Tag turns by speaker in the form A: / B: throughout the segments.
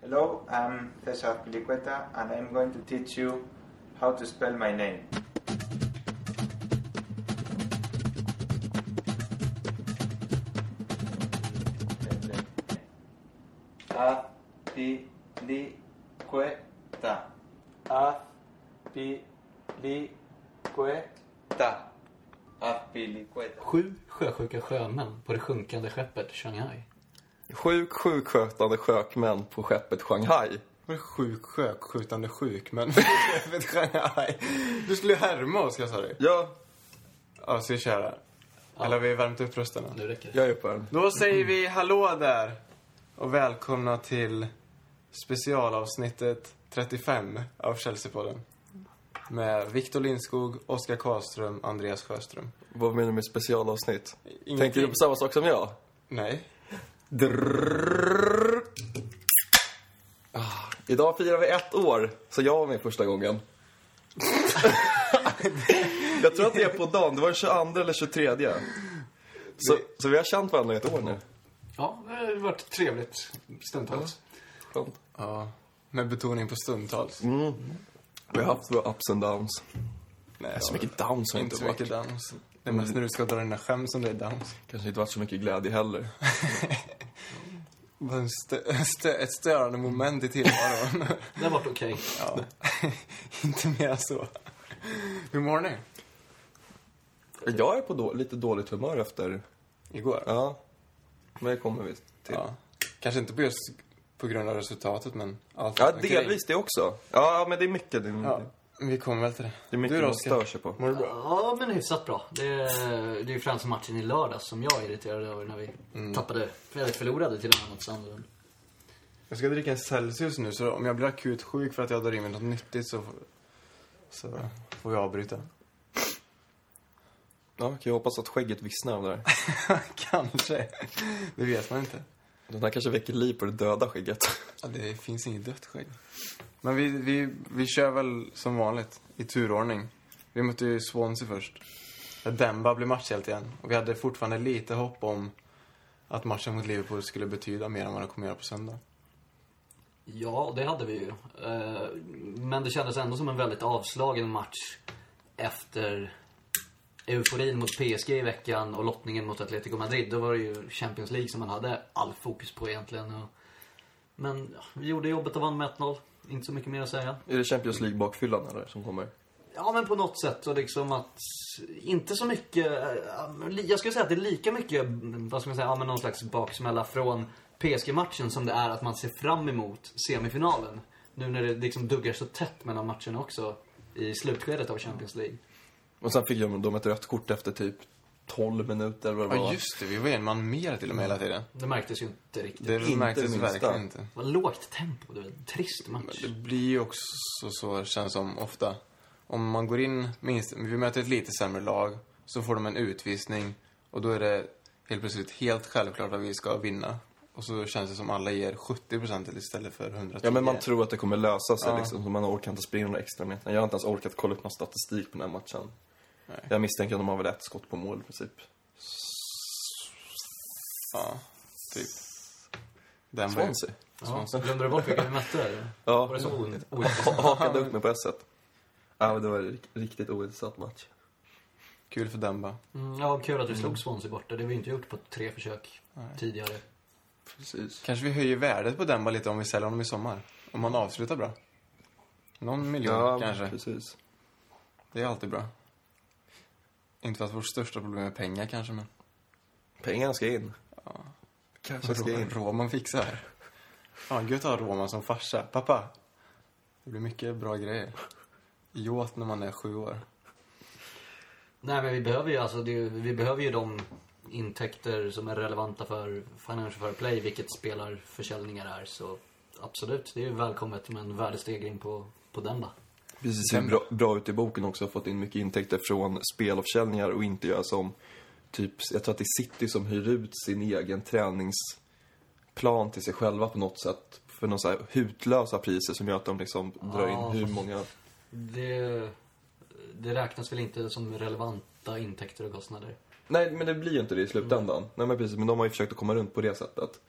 A: Hello, I'm Cesar Pilicueta, and I'm going to teach you how to spell my name. A P L Q T
B: Afiliquet.
A: Ta. Afilicueta.
C: Sju sjösjuka sjömän på det sjunkande skeppet Shanghai.
D: Sjuk sjukskötande sjökmän på skeppet Shanghai.
B: Sjuk sjökskjutande sjuk, men... Vet Shanghai. du skulle ju härma oss, jag sa det.
D: Ja,
B: Ja, ska vi köra? Eller har vi värmt upp rösterna?
C: Nu räcker det.
D: jag är på den.
B: Då säger vi hallå där och välkomna till specialavsnittet 35 av Chelseapodden. Med Victor Lindskog, Oskar Karlström, Andreas Sjöström.
D: Vad menar du med specialavsnitt?
B: Ingenting.
D: Tänker du på samma sak som jag?
B: Nej.
D: Drrrr. Ah, idag firar vi ett år, så jag var med första gången. jag tror att det är på dagen, det var den 22 eller 23. Så, så vi har känt varandra i ett år nu.
C: Ja, det har varit trevligt stundtals.
D: Skönt.
B: Ja, med betoning på stundtals.
D: Vi har haft våra ups and downs.
B: Nej,
D: Så mycket downs har
B: inte så mycket dans. Det är mest när du ska dra dina skämt som det är dans.
D: Kanske inte varit så mycket glädje heller.
B: Vad en stö- stö- ett störande moment i tillvaron.
C: Det har varit okej.
B: ja. inte mer än så. Hur mår ni?
D: Jag är på då, lite dåligt humör efter...
B: Igår?
D: Ja. Men det kommer vi till. Ja,
B: Ja. Kanske inte på just på grund av resultatet, men allt runt omkring.
D: delvis det också. Ja, men det är mycket. Det är,
B: Ja, men vi kommer väl till det.
D: det är mycket
B: du
D: man
B: Oskar?
D: stör sig på.
B: Mår du bra?
C: Ja, men hyfsat bra. Det är, det är ju främst matchen i lördags som jag är irriterad över när vi tappade, eller förlorade till och med mot Sandlund.
B: Jag ska dricka en Celsius nu, så om jag blir akut sjuk för att jag drar in mig något nyttigt så, så får vi avbryta.
D: Ja, kan jag hoppas att skägget vissnar av det där.
B: Kanske. Det vet man inte.
D: Den här kanske väcker liv på det döda skägget.
B: Ja, det finns inget dött skägg. Men vi, vi, vi kör väl som vanligt, i turordning. Vi mötte ju Swansea först. Där Demba blev matchhjälte igen. Och vi hade fortfarande lite hopp om att matchen mot Liverpool skulle betyda mer än vad den kommer göra på söndag.
C: Ja, det hade vi ju. Eh, Men det kändes ändå som en väldigt avslagen match efter euforin mot PSG i veckan och lottningen mot Atletico Madrid. Då var det ju Champions League som man hade all fokus på egentligen. och- Men ja, vi gjorde jobbet och vann med 1-0. Inte så mycket mer att säga.
D: Är det Champions League-bakfyllan eller som kommer?
C: Ja, men på något sätt. Och liksom att... Inte så mycket... eh, li- Jag skulle säga att det är lika mycket, mm, vad ska man säga, ja, men någon slags baksmälla från PSG-matchen som det är att man ser fram emot semifinalen. Nu när det liksom duggar så tätt mellan matcherna också i slutskedet av Champions League.
D: Och sen fick de de ett rött kort efter typ 12 minuter eller vad det
B: Ja,
D: var.
B: just det. Vi var en man mer till och med hela tiden.
C: Det märktes ju inte riktigt.
B: Det
D: Inte det
B: märktes
D: minsta.
B: verkligen inte.
C: Det var lågt tempo. Det var en trist
B: Men
C: match.
B: det blir ju också så, känns som, ofta. Om man går in minst, vi möter ett lite sämre lag, så får de en utvisning och då är det helt plötsligt helt självklart att vi ska vinna. Och så känns det som alla ger 70 istället för 110.
D: Ja, men man tror att det kommer lösa sig
B: Ja.
D: liksom. Så man orkar inte springa några extra meter. Jag har inte ens orkat kolla upp någon statistik på den här matchen.
B: Nej.
D: Jag misstänker att de har väl ett skott på mål i princip.
B: Ja, typ. Den var ju...
D: Swansea.
C: Ja, glömde du bort vilka vi mötte? eller?
D: Ja.
C: Var det så o- ointressant?
D: Hakade upp mig på S-et. Ja, men det var en rik- riktigt ointressant match.
B: Kul för Demba.
C: Mm, ja, kul att vi slog Swansea borta. Det har vi inte gjort på tre försök tidigare.
D: Precis.
B: Kanske vi höjer värdet på Demba lite om vi säljer honom i sommar. Om man avslutar bra. Någon miljon
D: Ja,
B: kanske.
D: precis.
B: Det är alltid bra. Inte för att vårt största problem är pengar kanske, men...
D: Pengarna ska in. Kanske ska
B: Rå-
D: in.
B: Roman fixar. Fan, gött att ha Roman som farsa. Pappa. Det blir mycket bra grejer. Jåt när man är sju år.
C: Nej men vi behöver ju alltså, det, är ju- vi behöver ju de intäkter som är relevanta för Financial Fair Play, vilket spelar försäljningar är. Så absolut, det är ju välkommet med en värdestegring på, på den då.
D: Precis, ser bra, bra ut i boken också. Har fått in mycket intäkter från spelavförsäljningar och inte göra som typ, jag tror att det är City som hyr ut sin egen träningsplan till sig själva på något sätt. För några så här hutlösa priser som gör att de liksom drar
C: Ja.
D: in hur många...
C: Det, det räknas väl inte som relevanta intäkter och kostnader.
D: Mm. Nej, men det blir ju inte det i slutändan. Nej, men precis. Men de har ju försökt att komma runt på det sättet.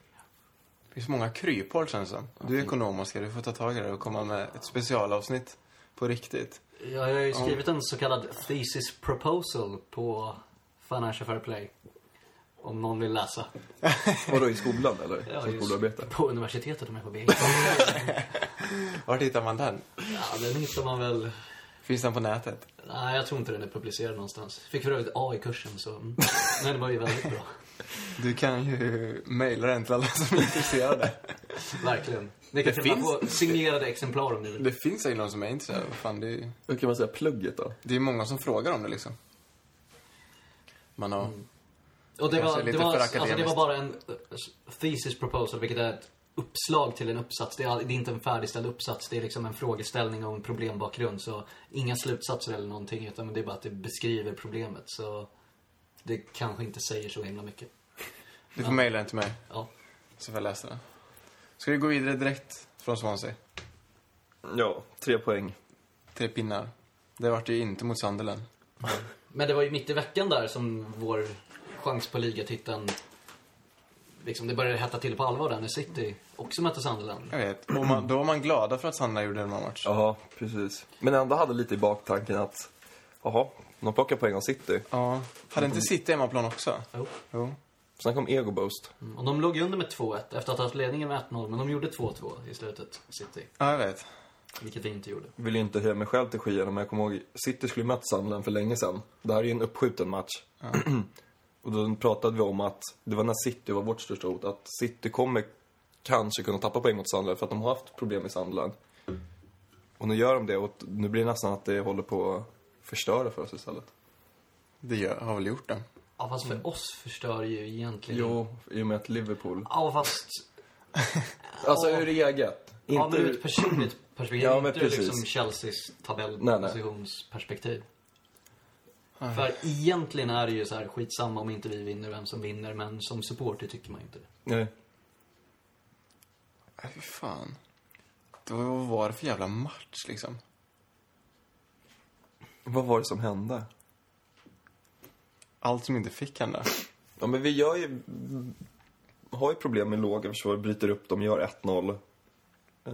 B: Det är så många kryphål känns det som. Du är ekonom, Oskar. Du får ta tag i det och komma med ett specialavsnitt på riktigt.
C: Jag har ju skrivit en så kallad thesis proposal på Financial Fair Play. Om någon vill läsa.
D: Vadå, i skolan eller?
C: Ja,
D: Som
C: just
D: skolarbete?
C: På universitetet om jag får be.
B: Var hittar man den?
C: Ja, den hittar man väl.
B: Finns den på nätet?
C: Nej, jag tror inte den är publicerad någonstans. Fick för övrigt A i kursen så... mm. Men det var ju väldigt bra.
B: Du kan ju mejla den till alla som är intresserade.
C: Verkligen. Ni kan
B: Det
C: till och med
B: finns-
C: få signerade exemplar om ni vill.
B: Det finns säkert någon som är intresserad. Vad Fan, det, är,
D: Hur kan man säga plugget då?
B: det är många som frågar om det liksom. Man har...
C: Och det
B: Kanske
C: var,
B: lite
C: det, var,
B: för
C: alltså, det var
B: akademiskt.
C: bara en eh, thesis proposal, vilket är ett uppslag till en uppsats. Det är, all- det är inte en färdigställd uppsats, det är liksom en frågeställning och en problembakgrund. Så inga slutsatser eller någonting, utan det är bara att det beskriver problemet. Så det kanske inte säger så himla mycket.
B: Du får mejla den till mig,
C: Ja.
B: så får jag läsa den. Ska vi gå vidare direkt från Swansea?
D: Ja, tre poäng.
B: Tre pinnar. Det vart ju inte mot Sunderland.
C: Men det var ju mitt i veckan där som vår chans på ligatiteln... Liksom, det började hetta till på allvar där när City också mötte Sunderland.
B: Jag vet. Och man, då var man glada för att Sunderland gjorde en bra match.
D: Ja, precis. Men ändå hade lite i baktanken att, jaha, de plockar poäng av City.
B: Ja. Hade inte City hemmaplan också?
C: Jo.
B: Jo.
D: Sen kom Ego Boost.
C: Mm. Och de låg ju under med 2-1 efter att ha haft ledningen med 1-0, men de gjorde 2-2 i slutet, City.
B: Ja, jag vet.
C: Vilket vi inte gjorde.
D: Vill ju inte höja mig själv till skyarna, men jag kommer ihåg City skulle möta Sunderland för länge sedan. Det här är ju en uppskjuten match. och då pratade vi om att det var när City var vårt största hot, att City kommer kanske kunna tappa poäng mot Sunderland för att de har haft problem med Sunderland. Och nu gör de det och nu blir det nästan att det håller på att förstöra för oss istället.
B: Det gör, har väl gjort det.
C: Ja, fast för oss förstör ju egentligen...
D: Mm. Jo, i och med att Liverpool...
C: Ja, fast...
D: Alltså
C: Ja.
D: ur eget.
C: Ja,
D: Inte
C: men ur ett
D: ur...
C: personligt perspektiv.
D: Ja, men
C: inte ur
D: precis.
C: liksom Chelseas
D: Nej, nej.
C: tabellpositionsperspektiv. För egentligen är det ju så här skitsamma om inte vi vinner, vem som vinner. Men som supporter tycker man ju inte det.
D: Nej.
B: Nej, Äh, fy fan. Det var, vad var det för jävla match liksom?
D: Vad var det som hände?
B: Allt som inte fick hända.
D: Ja, men vi gör ju... Har ju problem med låga försvar, bryter upp dem, gör 1-0. Eh,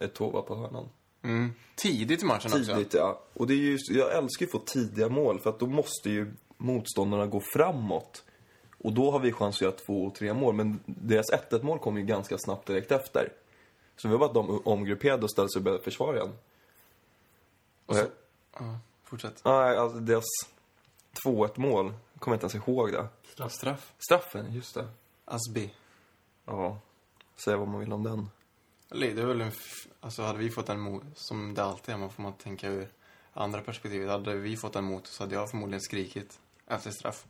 D: Ett tova på hörnan.
B: Mm. Tidigt i matchen också.
D: Tidigt, ja. Och det är ju, jag älskar ju att få tidiga mål, för att då måste ju motståndarna gå framåt. Och då har vi chans att göra två och tre mål, men deras 1-1 mål kom ju ganska snabbt direkt efter. Så vi var bara att de omgrupperade och ställde sig och började försvara igen. Och jag,
B: Ja, fortsätt.
D: nej, alltså deras 2-1 mål, jag kommer inte ens ihåg det.
C: Straff.
B: Straff.
D: Straffen, just det.
B: Asbi.
D: Ja, säga vad man vill om den.
B: Eller, Det är väl en... F- alltså hade vi fått en mot, som det alltid är, man får man tänka ur andra perspektivet. Hade vi fått en mot så hade jag förmodligen skrikit efter straff.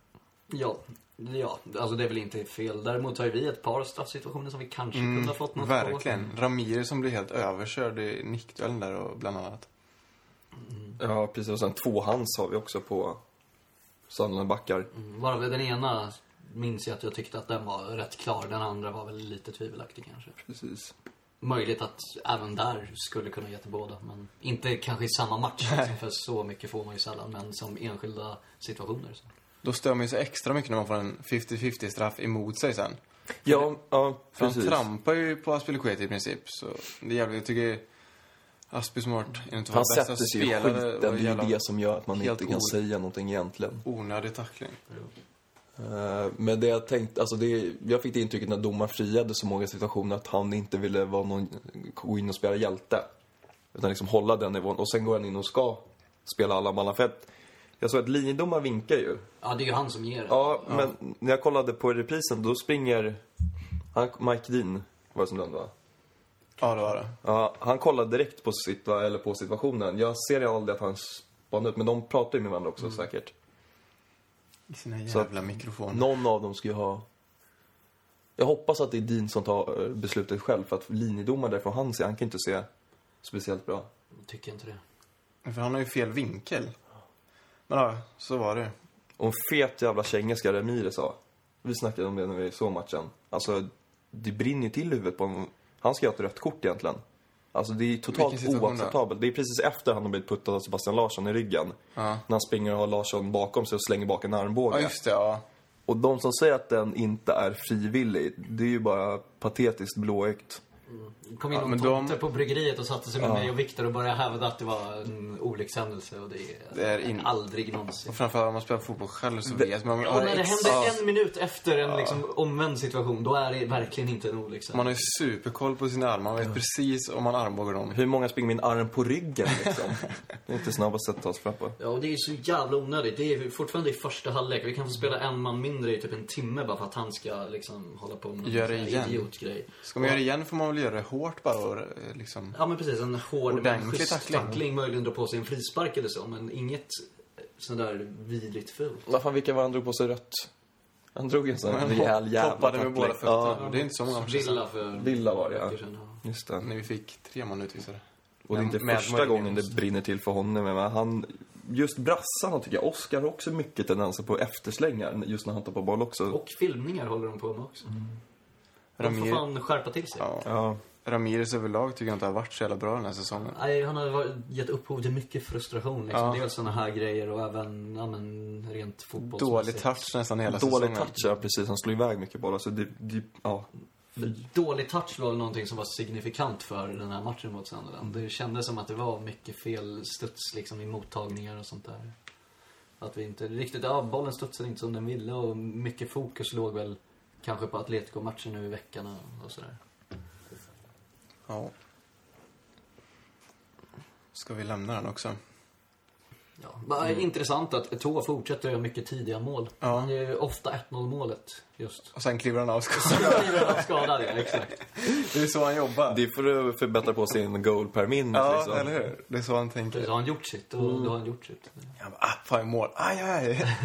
C: Ja, ja, alltså det är väl inte fel. Däremot har ju vi ett par straffsituationer som vi kanske
D: Typ
C: kunde ha fått något på.
B: Mm, Verkligen. Ramirez som blir helt överkörd i nickduellen där och bland annat.
D: Ja, precis. Och sen tvåhands har vi också på Sandland backar.
C: Mm, Bara den ena minns jag att jag tyckte att den var rätt klar. Den andra var väl lite tvivelaktig kanske.
D: Precis.
C: Möjligt att även där skulle kunna ge till båda. Men inte kanske i samma match. Liksom, för så mycket får man ju sällan. Men som enskilda situationer. Så.
B: Då stör man ju sig extra mycket när man får en 50-50 straff emot sig sen.
D: Ja, ja
B: För han
D: precis.
B: trampar ju på Aspilicueta i princip. Så det är jävligt, jag tycker Aspi som har varit en
D: Han
B: av våra bästa
D: sätter sig i skiten.
B: spelare.
D: Det är
B: och
D: ju
B: jävla
D: det som gör att man
B: helt
D: inte kan
B: o-
D: säga någonting egentligen.
B: Onödig tackling.
D: Eh, Men det jag tänkte, alltså det, jag fick det intrycket när domaren friade så många situationer att han inte ville vara någon, gå in och spela hjälte. Utan liksom hålla den nivån och sen går han in och ska spela alla manna. För att jag såg att linjedomaren vinkar ju.
C: Ja, det är ju han som ger det.
D: Ja, men när jag kollade på reprisen då springer han, Mike Dean var det som dömde va?
B: Ja, det var det.
D: Ja, han kollar direkt på, situa- eller på situationen. Jag ser aldrig att han spanar ut, men de pratar ju med varandra också säkert.
B: I sina
D: Så att-
B: jävla mikrofoner.
D: Någon av dem ska ju ha... Jag hoppas att det är Dean som tar eh, beslutet själv, för att linjedomaren därifrån han ser, han kan inte se speciellt bra.
C: Tycker inte det.
B: För han har ju fel vinkel. Men ja, så var det
D: Och en fet jävla känga ska Ramirez ha. Vi snackade om det när vi såg matchen. Alltså, det brinner ju till i huvudet på honom. Han ska ju ha ett rött kort egentligen. Alltså det är ju totalt
B: Vilken situation då?
D: oacceptabelt. Det är precis efter han har blivit puttad av Sebastian Larsson i ryggen.
B: Ja.
D: När han springer och har Larsson bakom sig och slänger bak en
B: Ja,
D: armbåge.
B: just det. Ja.
D: Och de som säger att den inte är frivillig, det är ju bara patetiskt blåögt.
C: Kom in
B: Ja,
C: någon
B: men de-
C: tomte på bryggeriet och satte sig med mig och Viktor och började hävda att det var en olyckshändelse och det är,
B: Det är in-
C: aldrig någonsin.
B: Och framförallt om man spelar fotboll själv så vet man...
C: Och
B: Man,
C: när det
B: ex-
C: händer en minut efter en liksom, omvänd situation, då är det verkligen inte liksom. en olyckshändelse.
B: man har ju superkoll på sina armar. Man vet precis om man armbågar dem.
D: Hur många springer med en arm på ryggen liksom? Det är inte snabbaste sättet att ta sig fram på.
C: Ja, och det är så jävla onödigt. Det är fortfarande i första halvlek. Vi kan få spela en man mindre i typ en timme bara för att han ska liksom hålla på med någon
B: Gör
C: sån här
B: det igen.
C: idiotgrej.
B: Ska man göra det igen får man väl göra det hårt bara och eh, liksom...
C: Ja men precis, en hård men
B: Ordentlig
C: schysst
B: tackling.
C: tackling. Möjligen dra på sig en frispark eller så, men inget sån där vidrigt fult.
D: Vad fan, vilka var han drog på sig rött? Han drog en sån här
B: Man
D: rejäl jävla
B: hoppade med
D: tackling.
B: båda fötterna.
D: Ja,
B: Det är inte så många matcher sedan.
C: Villa för...
D: Villa var det, ja.
C: veckor sedan,
D: just det.
B: När vi fick tre man utvisade.
D: Och det är inte
B: Med- med
D: första
B: Mourinho
D: gången det
B: också.
D: brinner till för honom. Men han, just brassarna tycker jag. Oskar har också mycket tendenser på efterslängar just när han tappar boll också.
C: Och filmningar håller de på med också. De får
B: Ramir,
C: fan skärpa till sig.
B: ja,
D: Ja,
B: Ramirez överlag tycker jag inte har varit så jävla bra den här säsongen.
C: Nej, han har varit- gett upphov till mycket frustration. Liksom.
B: Ja.
C: Dels såna här grejer och även ja, men, rent
B: Dålig
C: fotbollsmässigt.
B: touch nästan hela
D: dålig
B: säsongen.
D: touch, ja, precis. Han slår iväg mycket bollar. Så det, det, ja.
C: Men Dålig touch var väl någonting som var signifikant för den här matchen mot Sunderland. Det kändes som att det var mycket fel studs liksom, i mottagningar och sånt där. Att vi inte riktigt, ja bollen studsade inte som den ville och mycket fokus låg väl kanske på Atletico-matchen nu i veckan och- och sådär.
B: Ja. Ska vi lämna den också?
C: Ja. Bara Intressant att Eto'o fortsätter göra mycket tidiga mål.
B: Mm. Ja.
C: Han gör ju ofta 1-0 målet just.
B: Och sen kliver han av skott.
C: Skadad, ja, exakt.
B: Det är så han jobbar.
D: Det är för att förbättra på sin goal per minut
B: ja,
D: liksom.
B: eller hur? Det är så han
C: Då
B: tänker.
C: har han gjort sitt och
B: Mm.
C: då har han gjort sitt.
B: Han bara, ah, fan i mål. Aj, aj.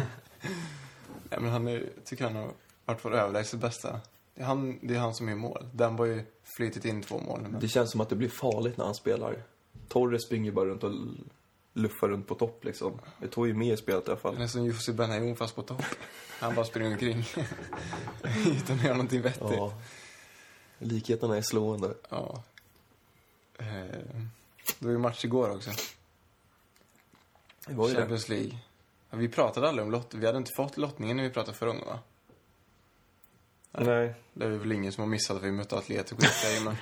B: ja, men han är, tycker han har varit vår överlägset bästa. Det är, han, det är han som är i mål. Den var ju flytit in två mål. Men...
D: Det känns som att det blir farligt när han spelar. Torres springer bara runt och l- luffar runt på topp liksom. Det tog ju med i spelet i alla
B: Det är
D: fall.
B: nästan Jussi Benayoun fast på topp. Han bara springer omkring. Utan att göra någonting vettigt. Ja.
D: Ja. Likheterna är slående.
B: Eh, det var ju match igår också.
D: Det var ju det.
B: Champions League. Ja, vi pratade aldrig om lott. Vi hade inte fått lottningen när vi pratade förra gången, va?
D: Nej.
B: Det är väl ingen som har missat att vi mötte Atletico i och för sig, men...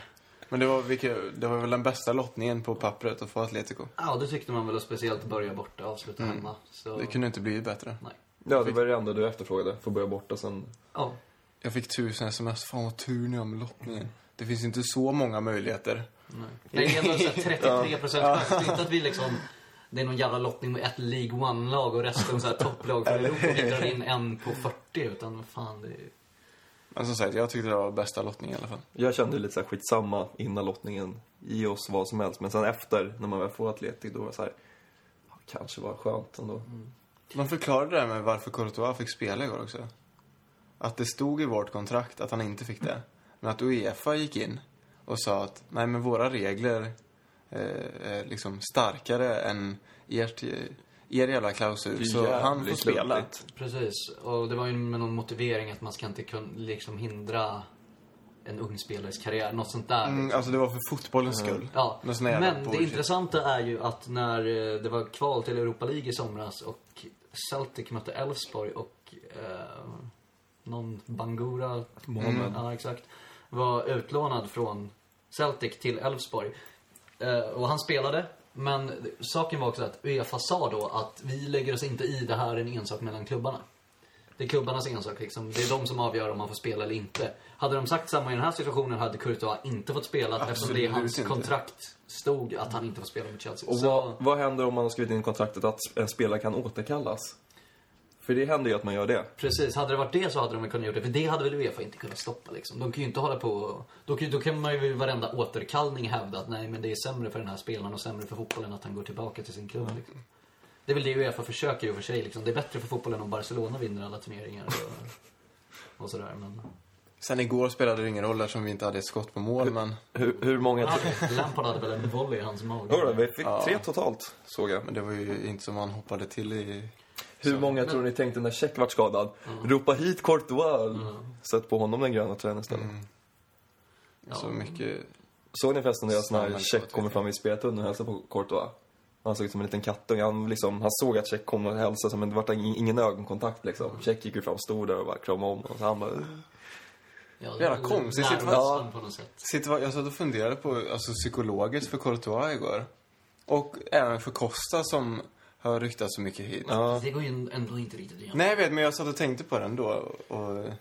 B: Men det var, vilka, det var väl den bästa lottningen på pappret att få Atletico.
C: Ja, det tyckte man väl att speciellt börja borta och avsluta hemma. Så...
B: Mm. Det kunde inte bli bättre.
C: Nej.
D: Ja, det var det enda du efterfrågade. Får börja borta sen.
C: Ja.
B: Jag fick tusen sms. Fan vad tur ni har med lottningen. Det finns ju inte så många möjligheter.
C: Nej. Det är ändå så här 33 procent chans. Det är inte att vi liksom... Det är någon jävla lottning med ett League One-lag och resten så här topplag från Europa och vi drar in en på 40. Utan vad fan, det är...
B: Men som sagt, jag tyckte det var bästa lottningen i alla fall.
D: Jag kände lite så här skitsamma innan lottningen. Ge oss vad som helst. Men sen efter, när man väl får Atleti, då var det så här. ja, Kanske var skönt ändå.
B: De förklarade det här med varför Courtois fick spela igår också. Att det stod i vårt kontrakt att han inte fick det. Men att Uefa gick in och sa att nej men våra regler eh, är liksom starkare än ert, er jävla klausul. Så han får
D: Jävligt
B: spela.
D: luddigt.
C: Precis. Och det var ju med någon motivering att man ska inte kunna liksom hindra en ung spelares karriär. Något sånt där.
B: Mm, alltså det var för fotbollens
D: Mm.
B: skull.
C: Ja,
B: Någon sån här jävla
C: men det
B: bullshit.
C: intressanta är ju att när eh, det var kval till Europa League i somras och Celtic mötte Elfsborg och eh, någon Bangura, Mm,
D: Mohamed.
C: ja, exakt, var utlånad från Celtic till Elfsborg. Eh, och han spelade, men saken var också att Uefa sa då att vi lägger oss inte i, det här är en ensak mellan klubbarna. Det är klubbarnas ensak liksom. Det är de som avgör om han får spela eller inte. Hade de sagt samma i den här situationen hade Courtois inte fått spela eftersom det i hans
B: inte.
C: kontrakt stod att han inte får spela mot Chelsea.
D: Och
C: Så-
D: vad, vad händer om man har skrivit in i kontraktet att en spelare kan återkallas? För det händer ju att man gör det.
C: Precis, hade det varit det så hade de väl kunnat gjort det. För det hade väl Uefa inte kunnat stoppa liksom. De kan ju inte hålla på och... Då kan, då kan man ju vid varenda återkallning hävda att nej men det är sämre för den här spelaren och sämre för fotbollen att han går tillbaka till sin klubb liksom. Det är väl det Uefa försöker i och för sig liksom. Det är bättre för fotbollen om Barcelona vinner alla turneringar och, och sådär men...
B: Sen igår spelade det ingen roll eftersom vi inte hade ett skott på mål, men,
D: Hur, hur många...
C: Lampard hade väl en volley i hans
D: Jo då,
C: mage.
D: vi fick
B: Ja.
D: tre totalt, såg jag.
B: men det var ju inte som han hoppade till i...
D: Hur många tror ni tänkte när Check vart skadad? Mm. Ropa hit Courtois! Sätt på honom den gröna tröjan istället.
C: Ja.
B: Så mycket...
D: Såg ni förresten deras när
B: Samhällsfarligt.
D: Check kommer fram i speltunneln och hälsar på Courtois? Han såg ut som en liten kattunge. Han, liksom, han såg att Check kom och hälsade, men det var ing- ingen ögonkontakt liksom. Check gick ju fram, stod där och bara kramade om honom. Så han bara... "Eh."
C: Ja, det
B: Jävla
C: var
B: konstig
C: närmast
B: situation.
C: han på något sätt.
B: Sitter, jag satt och funderade på alltså, psykologiskt för Courtois igår. Och även för Costa som har ryktats så mycket hit.
D: Ja.
C: Det går ju ändå inte riktigt igen.
B: Nej, jag vet, men jag satt och tänkte på den då. Och det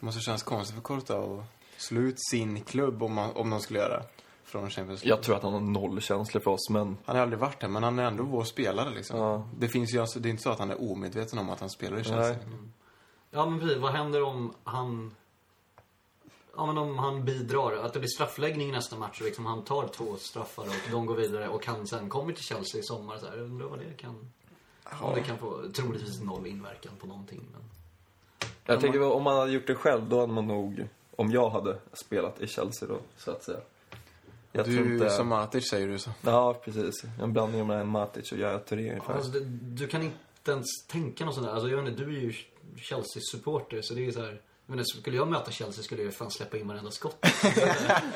B: måste kännas konstigt för Courtois att slå ut sin klubb om, man, om de skulle göra från Champions League.
D: Jag tror att han har noll känslor för oss, men...
B: Han har aldrig varit där, men han är ändå vår spelare liksom.
D: Ja.
B: Det, finns ju, alltså, det är inte så att han är omedveten om att han spelar i Chelsea.
D: Nej.
C: Ja, men precis. Vad händer om han... Ja, men om han bidrar. Att det blir straffläggning i nästa match och liksom han tar två straffar och de går vidare och han sen kommer till Chelsea i sommar. Så här, jag undrar vad det kan... Om det kan få troligtvis noll inverkan på någonting. Men...
D: Jag tänker väl, om man hade gjort det själv, då hade man nog... Om jag hade spelat i Chelsea då, så att säga. Jag tror
B: Du
D: inte...
B: som Matic säger du så.
D: Ja, precis. En blandning mellan Matic och Yahya Touré ungefär.
C: Alltså, det, du kan inte ens tänka något sånt där. Alltså, jag vet inte, du är ju Chelsea-supporter så det är ju så här... Jag menar, skulle jag möta Chelsea skulle jag ju fan släppa in varenda skott.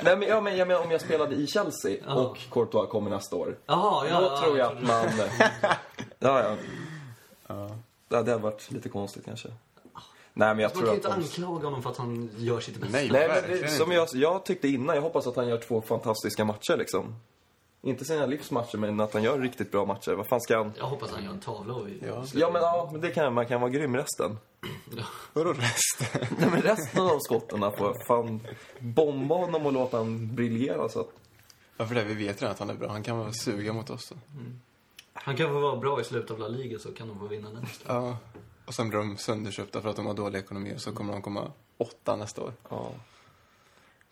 D: Nej, men, ja, men, jag menar om jag spelade i Chelsea och Courtois kommer nästa år.
C: Jaha, ja.
D: Då
C: ja,
D: tror jag
C: trodde
D: att
C: du-
D: man... ja, ja. ja. Det hade varit lite konstigt kanske. Nej, men
C: Man
D: jag
C: kan
D: tror
C: ju
D: att...
C: inte
D: de-
C: anklaga honom för att han gör sitt bästa.
B: Nej.
D: Nej, men
B: Verkligen
D: det, som
B: inte.
D: jag, jag tyckte innan, jag hoppas att han gör två fantastiska matcher liksom. Inte sina livsmatcher, men att han gör riktigt bra matcher. Vad fan ska han...
C: Jag hoppas han gör en tavla och vi...
B: Ja.
D: Ja, men ja, men det kan man kan vara grym resten.
B: Vadå resten?
D: Nej, men resten av de skotten får fan bomba honom och låta han briljera så att...
B: Varför det? Vi vet redan att han är bra. Han kan väl suga mot oss då.
C: Han kan få vara bra i slutet av La Liga så kan de få vinna den.
B: Ja. Och sen blir de sönderköpta för att de har dålig ekonomi och så kommer de komma åtta nästa år.
D: Ja.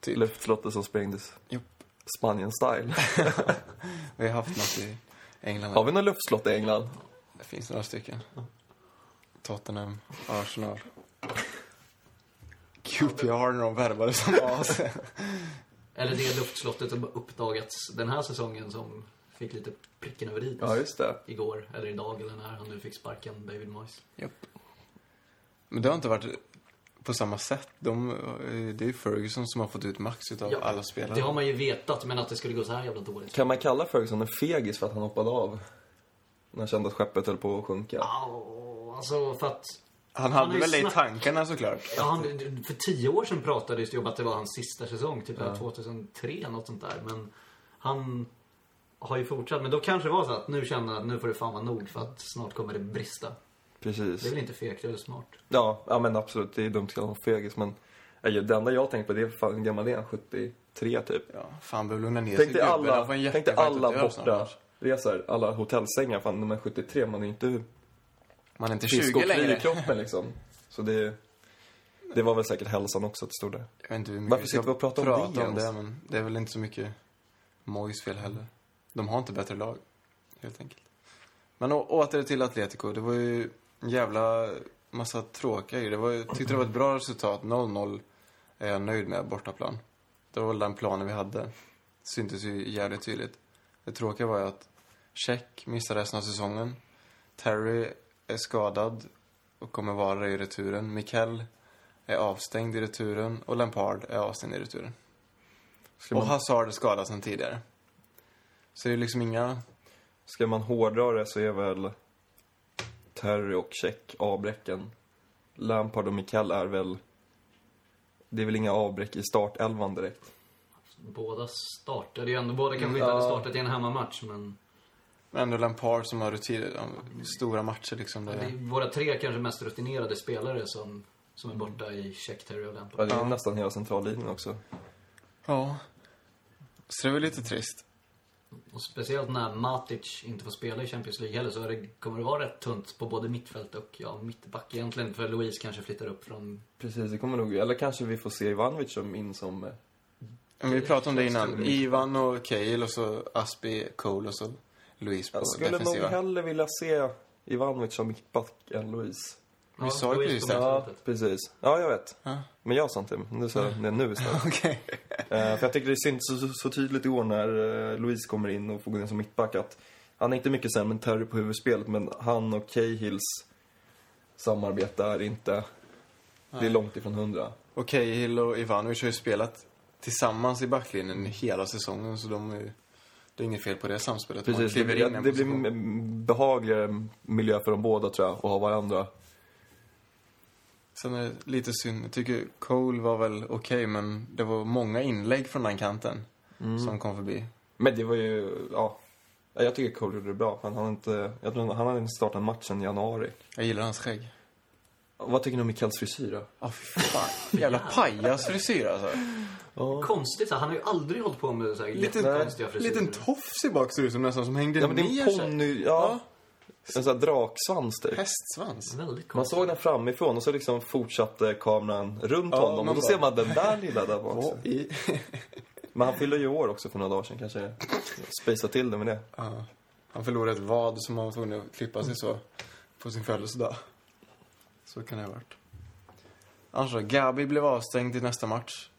B: Typ.
D: Luftslottet som sprängdes.
B: Japp.
D: Spanien-style.
B: Vi har haft något i England.
D: Har vi något luftslott i England?
B: Det finns några stycken. Tottenham, Arsenal. QPR när de värvade som as.
C: Eller det luftslottet som uppdagats den här säsongen som fick lite pricken över i.
D: Ja, just det.
C: Igår, eller idag, eller när han nu fick sparken, David Moyes.
B: Japp. Men det har inte varit på samma sätt. De, eh, det är Ferguson som har fått ut max utav
C: Ja,
B: alla spelare.
C: Det har man ju vetat, men att det skulle gå så här jävla dåligt.
D: Kan man kalla Ferguson en fegis för att han hoppade av? När han kände att skeppet höll på att sjunka.
C: Au, Alltså, för att...
B: Han
C: Han
B: hade
C: har ju
B: väl det i
C: snack-
B: tankarna såklart.
C: Ja, han, för tio år sedan pratades det ju om att det var hans sista säsong, typ 2003, något sånt där. Men han har ju fortsatt. Men då kanske det var så att nu känner han att nu får det fan vara nog för att snart kommer det brista. Det är
D: Precis.
C: väl inte fegt, det är väl smart.
D: Ja, ja men absolut. Det är dumt att kalla honom fegis men... Nej, Det enda jag har tänkt på det är fan, hur gammal är han? 73 typ.
B: Ja, fan behöver lugna ner sig
D: Tänk dig
B: gubben. Han
D: alla,
B: får en alltså.
D: tänk dig
B: hjärtinfarkt
D: alla
B: och dör
D: borta
B: snart.
D: resor, alla hotellsängar. Fan, när man är 73, man är ju inte
B: Man är inte
D: frisk och
B: 20
D: kry i
B: längre.
D: kroppen liksom. Så det, det var väl säkert hälsan också till stor del.
B: Jag vet inte hur mycket
D: Varför
B: ska
D: sitter vi och pratar om det
B: om
D: ens?
B: det men det är väl inte så mycket Mojs fel heller. De har inte bättre lag, helt enkelt. Men å- åter till Atletico. Det var ju en jävla massa tråkiga grejer. Det var, ju- jag tyckte det var ett bra resultat. 0-0 är jag nöjd med, bortaplan. Det var väl den planen vi hade. syntes ju jävligt tydligt. Det tråkiga var ju att Check missar resten av säsongen. Terry är skadad och kommer vara det i returen. Mikkel är avstängd i returen och Lampard är avstängd i returen.
D: Ska man,
B: Och Hazard är skadad sedan tidigare. Så det är ju liksom inga...
D: ska man hårdra det så är väl Terry och Check avbräcken. Lampard och Mikael är väl... Det är väl inga avbräck i startelvan direkt.
C: Båda startade ju ändå. Båda kanske inte hade startat i en hemmamatch, men
B: Men ändå Lampard som har rutin, ja, stora matcher liksom.
C: det
B: Det,
C: är våra tre kanske mest rutinerade spelare som, som är borta i Check, Terry och
D: Ja,
C: Lampard.
D: det är nästan hela centrallinjen också.
B: ja. Så det var lite trist.
C: Och speciellt när Matic inte får spela i Champions League heller så är det, kommer det vara rätt tunt på både mittfält och ja, mittback egentligen. För Louise kanske flyttar upp från...
D: Precis, det kommer nog... Eller kanske vi får se Ivanovic som in som... eh,
B: Men vi pratade om det innan.
D: Stor-
B: Ivan och Cahill och så Aspi, Cole och så Luis på
D: Jag skulle nog
B: Alltså, defensiva.
D: hellre vilja se Ivanovic som mittback än Louise.
B: Vi sa ju
C: Luis
B: precis
C: på
B: det.
D: Ja,
C: mittfältet.
D: precis. Ja, jag vet.
B: Ja.
D: Men jag sa inte det. Nu sa jag det nu istället.
B: Okej.
D: Eh, för jag tycker det syns så, så, så tydligt i år när eh, Louise kommer in och får gå in som mittback att han är inte mycket sämre än Terry på huvudspelet men han och Cahills samarbete är inte... Det är långt ifrån hundra.
B: Och Cahill och Ivanovic har ju spelat tillsammans i backlinjen hela säsongen så de är ju... Det är inget fel på det samspelet. Man
D: Precis, det,
B: kliver
D: blir-
B: in i en
D: det blir
B: position.
D: en behagligare miljö för dem båda tror jag, att ha varandra.
B: Sen är det lite synd. Jag tycker Cole var väl okej, men det var många inlägg från den kanten som kom förbi.
D: Men det var ju, ja. Ja, Jag tycker Cole gjorde det bra. Han hade inte, jag tror han hade inte startat en match sedan januari.
B: Jag gillar hans skägg.
D: Vad tycker ni om Mikals frisyr då?
B: Ja, fy fan. Jävla pajasfrisyr alltså.
C: Konstigt så här, han har ju aldrig hållit på med så här
B: Liten,
C: jättekonstiga frisyrer.
B: liten tofs i bak ser det ut som nästan, som hängde
D: Ja men det är
B: ner
D: en
B: sig.
D: ponny, ja. En sån här draksvans typ.
B: Hästsvans.
C: Väldigt
D: Man
C: konstigt.
D: såg den framifrån och så liksom fortsatte kameran runt
B: Ja,
D: honom och
B: man
D: då
B: bara-
D: ser man den där lilla där bak.
B: Och i...
D: Men han fyllde ju år också för några dagar sedan kanske. Spejsa till det med det.
B: ja. Han förlorade ett vad som han var tvungen att klippa sig så på sin födelsedag. Så kan det ha varit. Annars då, Gabi blev avstängd i nästa match.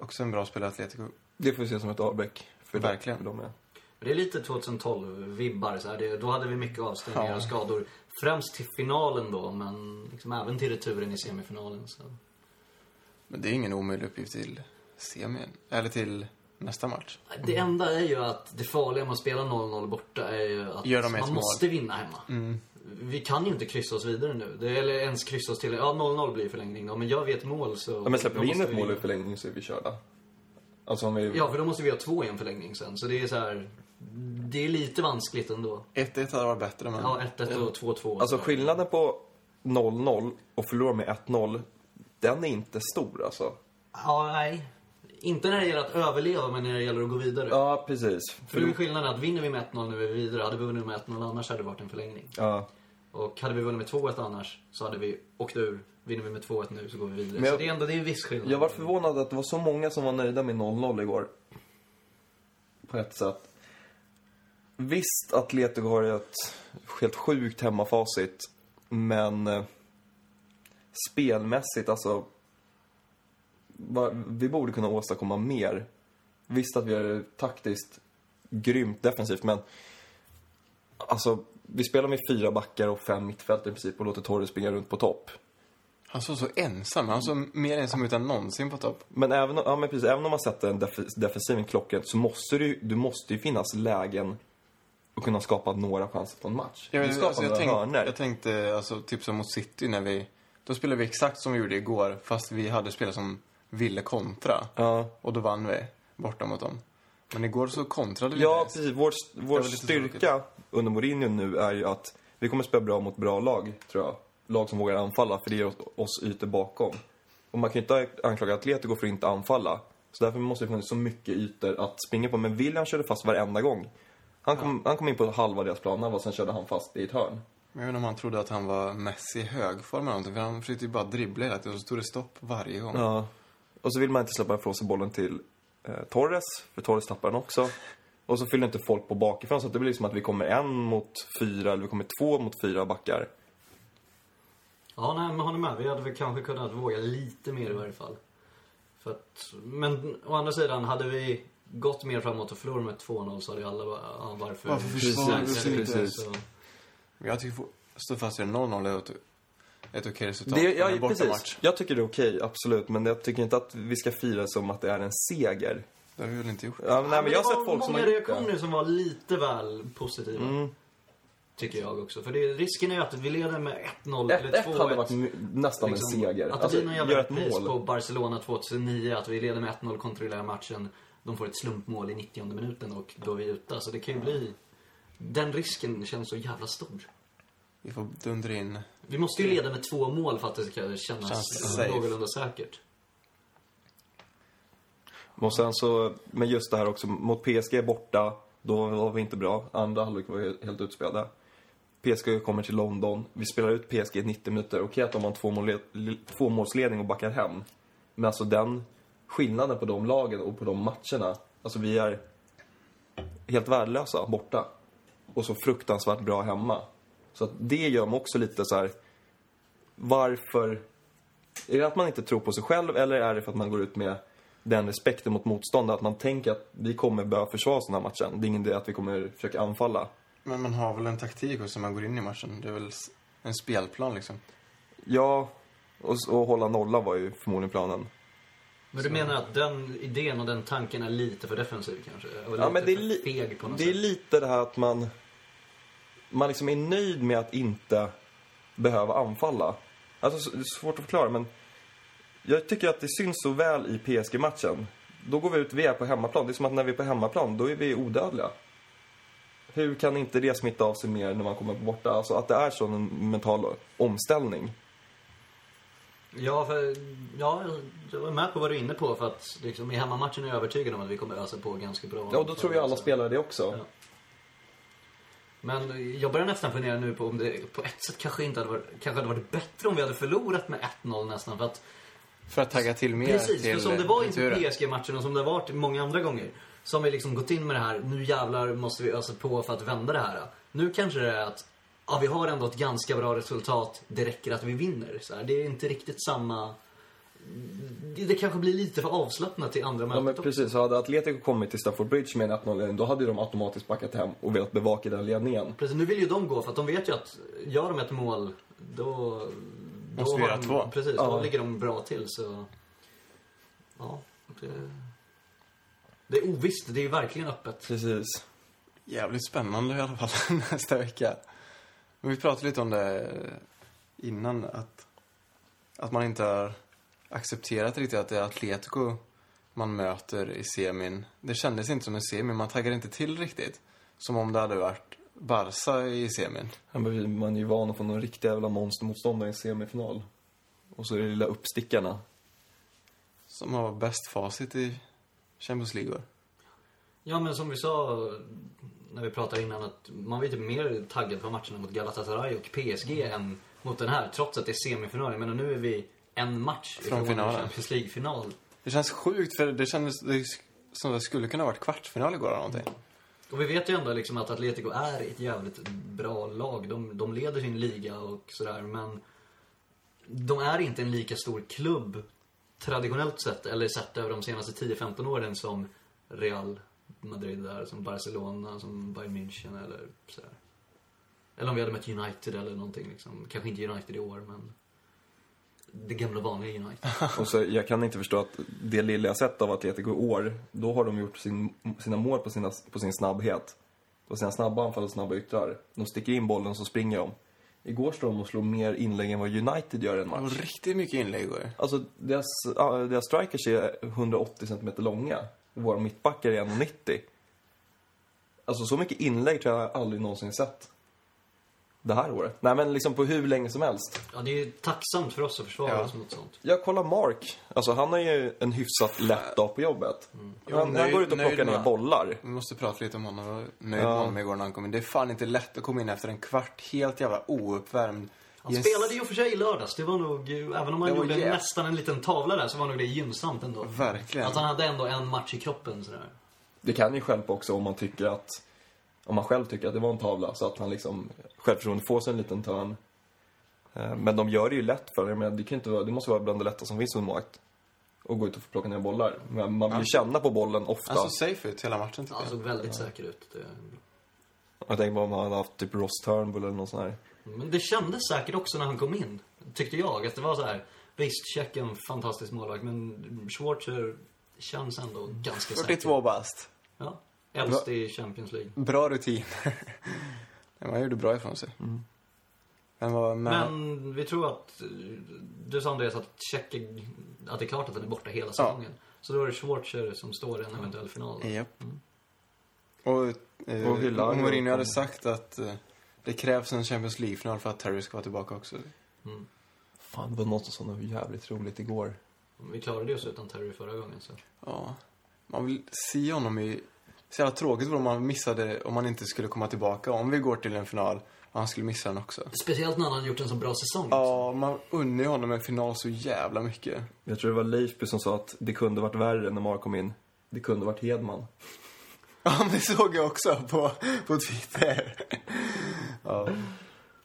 B: Också en bra spelare i Atletico.
D: Det får vi se som ett avbräck. För dem-
B: Verkligen.
D: För dem är.
C: Det är lite 2012-vibbar. Så här. Det, då hade vi mycket avstängningar
B: Ja.
C: och skador. Främst till finalen då, men liksom även till returen i semifinalen. Så.
B: Men det är ingen omöjlig uppgift till semin. Eller till nästa match.
C: Det
D: Mm.
C: enda är ju att det farliga med att spela 0-0 borta är ju att
B: Gör de ett
C: man
B: mål.
C: måste vinna hemma.
D: Mm.
C: Vi kan ju inte kryssa oss vidare nu. Det, eller ens kryssa oss till... Ja, 0-0 blir förlängning då, men gör vi ett mål så...
D: Ja, men släpper
C: då
D: vi in
C: måste
D: ett mål i förlängning så är vi körda. Alltså om vi...
C: Ja, för då måste vi ha två i en förlängning sen. Så det är så här... Det är lite vanskligt ändå.
B: 1-1 hade varit bättre, men...
C: Ja, 1-1 och 2-2.
D: Alltså skillnaden på 0-0 och förlora med 1-0, den är inte stor alltså.
C: Ja, nej. Inte när det gäller att överleva, men när det gäller att gå vidare.
D: Ja, precis.
C: För då är skillnaden att vinner vi med 1-0 nu är vi vidare. Hade vi vunnit med 1-0 annars hade det varit en förlängning.
D: Ja.
C: Och hade vi vunnit med 2-1 annars så hade vi åkt ur. Vinner vi med 2-1 nu så går vi vidare.
D: Men jag-
C: så det är ändå det är en viss skillnad.
D: Jag var förvånad att det var så många som var nöjda med 0-0 igår. På ett sätt. Visst, Atletico har ju ett helt sjukt hemmafacit. Men eh, spelmässigt, alltså. va- Vi borde kunna åstadkomma mer. Visst att vi är taktiskt grymt defensivt, men alltså vi spelar med fyra backar och fem mittfältare i princip och låter Torres springa runt på topp.
B: Han såg så ensam. Han såg mer ensam ut än någonsin på topp.
D: Men även, om- ja, men precis, även om man sätter en def defensiv klocka så måste du, du måste ju finnas lägen att kunna skapa några chanser på en match.
B: Jag,
D: du
B: vet,
D: skapar
B: alltså, jag,
D: några
B: tänkte,
D: hörnor.
B: jag tänkte, alltså, typ som mot City när vi... Då spelade vi exakt som vi gjorde igår, fast vi hade spelare som ville kontra.
D: Ja.
B: Och då vann vi, borta mot dem. Men igår så kontrade vi
D: Ja,
B: inte ens.
D: precis. Vår, vår
B: väl lite
D: styrka under Mourinho nu är ju att vi kommer spela bra mot bra lag, tror jag. Lag som vågar anfalla, för det ger oss ytor bakom. Och man kan ju inte anklaga Atletico för att inte anfalla. Så därför måste det finnas så mycket ytor att springa på. Men William körde fast varenda gång. Han kom, han kom in på halva deras plan och sen körde han fast i ett hörn.
B: Men jag vet inte om han trodde att han var Messi i högform eller någonting. För han försökte ju bara dribbla hela tiden och så tog det stopp varje gång.
D: Ja. Och så vill man inte släppa ifrån sig bollen till eh, Torres, för Torres tappar den också. Och så fyller inte folk på bakifrån, så att det blir liksom att vi kommer en mot fyra, eller vi kommer två mot fyra backar.
C: Ja, nej, men håller med. Vi hade väl kanske kunnat våga lite mer i varje fall. För att, men å andra sidan, hade vi gått mer framåt och förlorat med 2-0 så hade ju alla bara, ja, varför...
B: Varför försvarar vi oss
C: Säkert
B: inte?
C: inte, så-
B: Men jag tycker, fort- stå fast vid 0-0 är ett, ett okej resultat.
D: Det,
B: för en
D: ja,
B: bortamatch.
D: precis. Jag tycker det är okej, absolut. Men jag tycker inte att vi ska fira som att det är en seger.
B: Det har vi väl inte gjort?
D: Ja, men, nej, men jag har
C: det
D: sett folk
C: var
D: som har
C: många
D: gjort det. Mm.
C: reaktioner som var lite väl positiva. Tycker jag också. För det, risken är ju att vi leder med 1-0 eller 2-1.
D: 1-1 hade varit my- nästan en seger.
C: Liksom, Att det
D: Alltså,
C: blir någon
D: gör
C: jävla
D: ett
C: repris
D: mål.
C: på Barcelona 2009. Att vi leder med 1-0, kontrollerar matchen. De får ett slumpmål i 90 minuten och då är vi ute. Så det kan ju bli... Den risken känns så jävla stor.
B: Vi får dundra in.
C: Vi måste ju
D: Mm.
C: leda med två mål för att det ska
B: Känns
C: kännas
B: safe.
C: någorlunda säkert.
D: Och sen så, men just det här också, mot PSG borta, då var vi inte bra. Andra halvlek var vi helt utspelade. PSG kommer till London, vi spelar ut PSG i 90 minuter. Okej att de har en tvåmål- tvåmålsledning och backar hem. Men alltså den skillnaden på de lagen och på de matcherna, alltså vi är helt värdelösa borta. Och så fruktansvärt bra hemma. Så att det gör mig också lite så här. varför är det att man inte tror på sig själv eller är det för att man går ut med den respekten mot motståndare? Att man tänker att vi kommer behöva försvara oss den här matchen. Det är ingen idé att vi kommer försöka anfalla.
B: Men man har väl en taktik också när man går in i matchen. Det är väl s- en spelplan liksom.
D: Ja, och, och hålla nolla var ju förmodligen planen.
C: Men du menar att den idén och den tanken är lite för defensiv kanske? Och
D: Ja, men det är,
C: för
D: li-
C: feg på något
D: det är
C: sätt?
D: lite det här att man, man liksom är nöjd med att inte behöva anfalla. Alltså, s- det är svårt att förklara, men jag tycker att det syns så väl i PSG-matchen. Då går vi ut, vi är på hemmaplan. Det är som att när vi är på hemmaplan, då är vi odödliga. Hur kan inte det smitta av sig mer när man kommer borta? Alltså att det är sån en mental omställning.
C: Ja, för, ja, jag var med på vad du är inne på. För att liksom, i hemmamatchen är jag övertygad om att vi kommer ösa på ganska bra.
D: Ja, och då tror jag alla spelare det också.
C: Ja. Men eh, jag börjar nästan fundera nu på om det på ett sätt kanske inte hade varit, kanske hade varit bättre om vi hade förlorat med 1-0 nästan. För att,
B: För att tagga till mer
C: precis,
B: till
C: för som det var inför
B: returen.
C: PSG-matchen och som det har varit många andra gånger. Så har vi liksom gått in med det här, nu jävlar måste vi ösa på för att vända det här. Nu kanske det är att, ja vi har ändå ett ganska bra resultat, det räcker att vi vinner. Så här, det är inte riktigt samma... Det, det kanske blir lite för avslappnat till andra
D: Ja, men
C: mötet också.
D: precis. Hade Atletico kommit till Stamford Bridge med en 1-0-ledning, då hade ju de automatiskt backat hem och velat bevaka den ledningen.
C: Precis, nu vill ju de gå för att de vet ju att gör de ett mål då... då
B: Måste vi
C: har
B: göra
C: de,
B: två.
C: Precis, då
D: Ja.
C: ligger de bra till så... Ja, det... Det är ovisst, det är ju verkligen öppet.
D: Precis.
B: Jävligt spännande i alla fall nästa vecka. Men vi pratade lite om det innan att, att man inte har accepterat riktigt att det är Atletico man möter i semin. Det kändes inte som en semi, man taggade inte till riktigt. Som om det hade varit Barca i semin.
D: Ja, men Man är ju van att få någon riktig jävla monstermotståndare i en semifinal. Och så är det lilla uppstickarna.
B: Som har bäst facit i Champions League. år.
C: Ja, men som vi sa när vi pratade innan att man var ju typ mer taggad på matcherna mot Galatasaray och PSG än mot den här, trots att det är semifinal. Jag menar, nu är vi en match ifrån
B: finalen.
C: Champions League-final.
B: Det känns sjukt för det kändes det, som det skulle kunna ha varit kvartsfinal igår eller någonting.
C: Och vi vet ju ändå liksom att Atletico är ett jävligt bra lag. De, de leder sin liga och sådär, men de är inte en lika stor klubb traditionellt sett, eller sett över de senaste 10-15 åren som Real Madrid är, som Barcelona, som Bayern München eller sådär. Eller om vi hade mött United eller någonting liksom. Kanske inte United i år, men det gamla vanliga United.
D: Och så, jag kan inte förstå att det lilla jag sett av Atletico i år, då har de gjort sin, sina mål på, sina, på sin snabbhet. På sina snabba anfall och snabba yttrar. De sticker in bollen så springer de. Igår står de och slår mer inlägg än vad United gör i en
B: Det var
D: match.
B: riktigt mycket inlägg igår.
D: Alltså, deras, ja, deras strikers är 180 cm långa. Våra mittbackar är 1,90. Alltså, så mycket inlägg tror jag aldrig någonsin sett. Det här året. Nej, men liksom på hur länge som helst.
C: Ja, det är ju tacksamt för oss att försvara
B: Ja.
C: oss mot sånt.
D: Jag kollar Mark. Alltså, han har ju en hyfsat lätt dag på jobbet.
B: Mm. Jo,
D: Han, han
B: nöjd-
D: går ut och
B: nöjd
D: plockar
B: med-
D: ner bollar.
B: Vi måste prata lite om honom. Jag var nöjd med
D: Ja.
B: honom igår när han kom in. Det är fan inte lätt att komma in efter en kvart helt jävla ouppvärmd.
C: Han
B: i en
C: spelade ju och för sig i lördags. Det var nog, ju- även om han
B: Det var
C: gjorde
B: jävligt.
C: nästan en liten tavla där, så var nog det gynnsamt ändå.
B: Verkligen.
C: Att Alltså, han hade ändå en match i kroppen sådär.
D: Det kan ju skälpa också om man tycker att... Om man själv tycker att det var en tavla, så att han liksom... Självförtroendet får sig en liten törn. Eh, Men de gör det ju lätt för det. Men det, kan ju inte vara, det måste vara bland det lätta som finns som målvakt. Och gå ut och få plocka ner bollar. Men man vill ju känna på bollen ofta.
B: Han såg Alltså, safe ut hela matchen tycker
C: Han såg
B: jag.
C: väldigt säker ut. Det...
D: Jag tänker på om han hade haft typ Ross Turnbull eller någon sån här.
C: Men det kändes säkert också när han kom in, tyckte jag. Att det var så här. visst, Tjeck är en fantastisk målvakt, men Schwarzer känns ändå ganska säker.
B: 42 bast.
C: Ja. Äldst i Champions League.
B: Bra rutiner. Nej, man gjorde bra ifrån sig.
D: Mm.
B: Men vad med...
C: Men vi tror att, eh, du sa Andreas att Tjeck är, att det är klart att han är borta hela säsongen. Så då är det Schwarzer som står i en eventuell final.
B: Japp.
C: Mm.
B: Och, eh,
D: Och Hyllar
B: och Mourinho
D: och-
B: hade sagt att eh, det krävs en Champions League-final för att Terry ska vara tillbaka också.
D: Fan, det var något som var jävligt roligt igår.
C: Vi klarade oss utan Terry förra gången så.
B: Ja. Man vill se honom i... Så jävla tråkigt vore om man missade, om man inte skulle komma tillbaka. Om vi går till en final och han skulle missa den också.
C: Speciellt när han har gjort en så bra säsong. också.
B: Ja, man unnar ju honom en final så jävla mycket.
D: Jag tror det var Leifby som sa att det kunde varit värre när Mark kom in. Det kunde varit Hedman.
B: Ja, men det såg jag också på, på Twitter. Ja.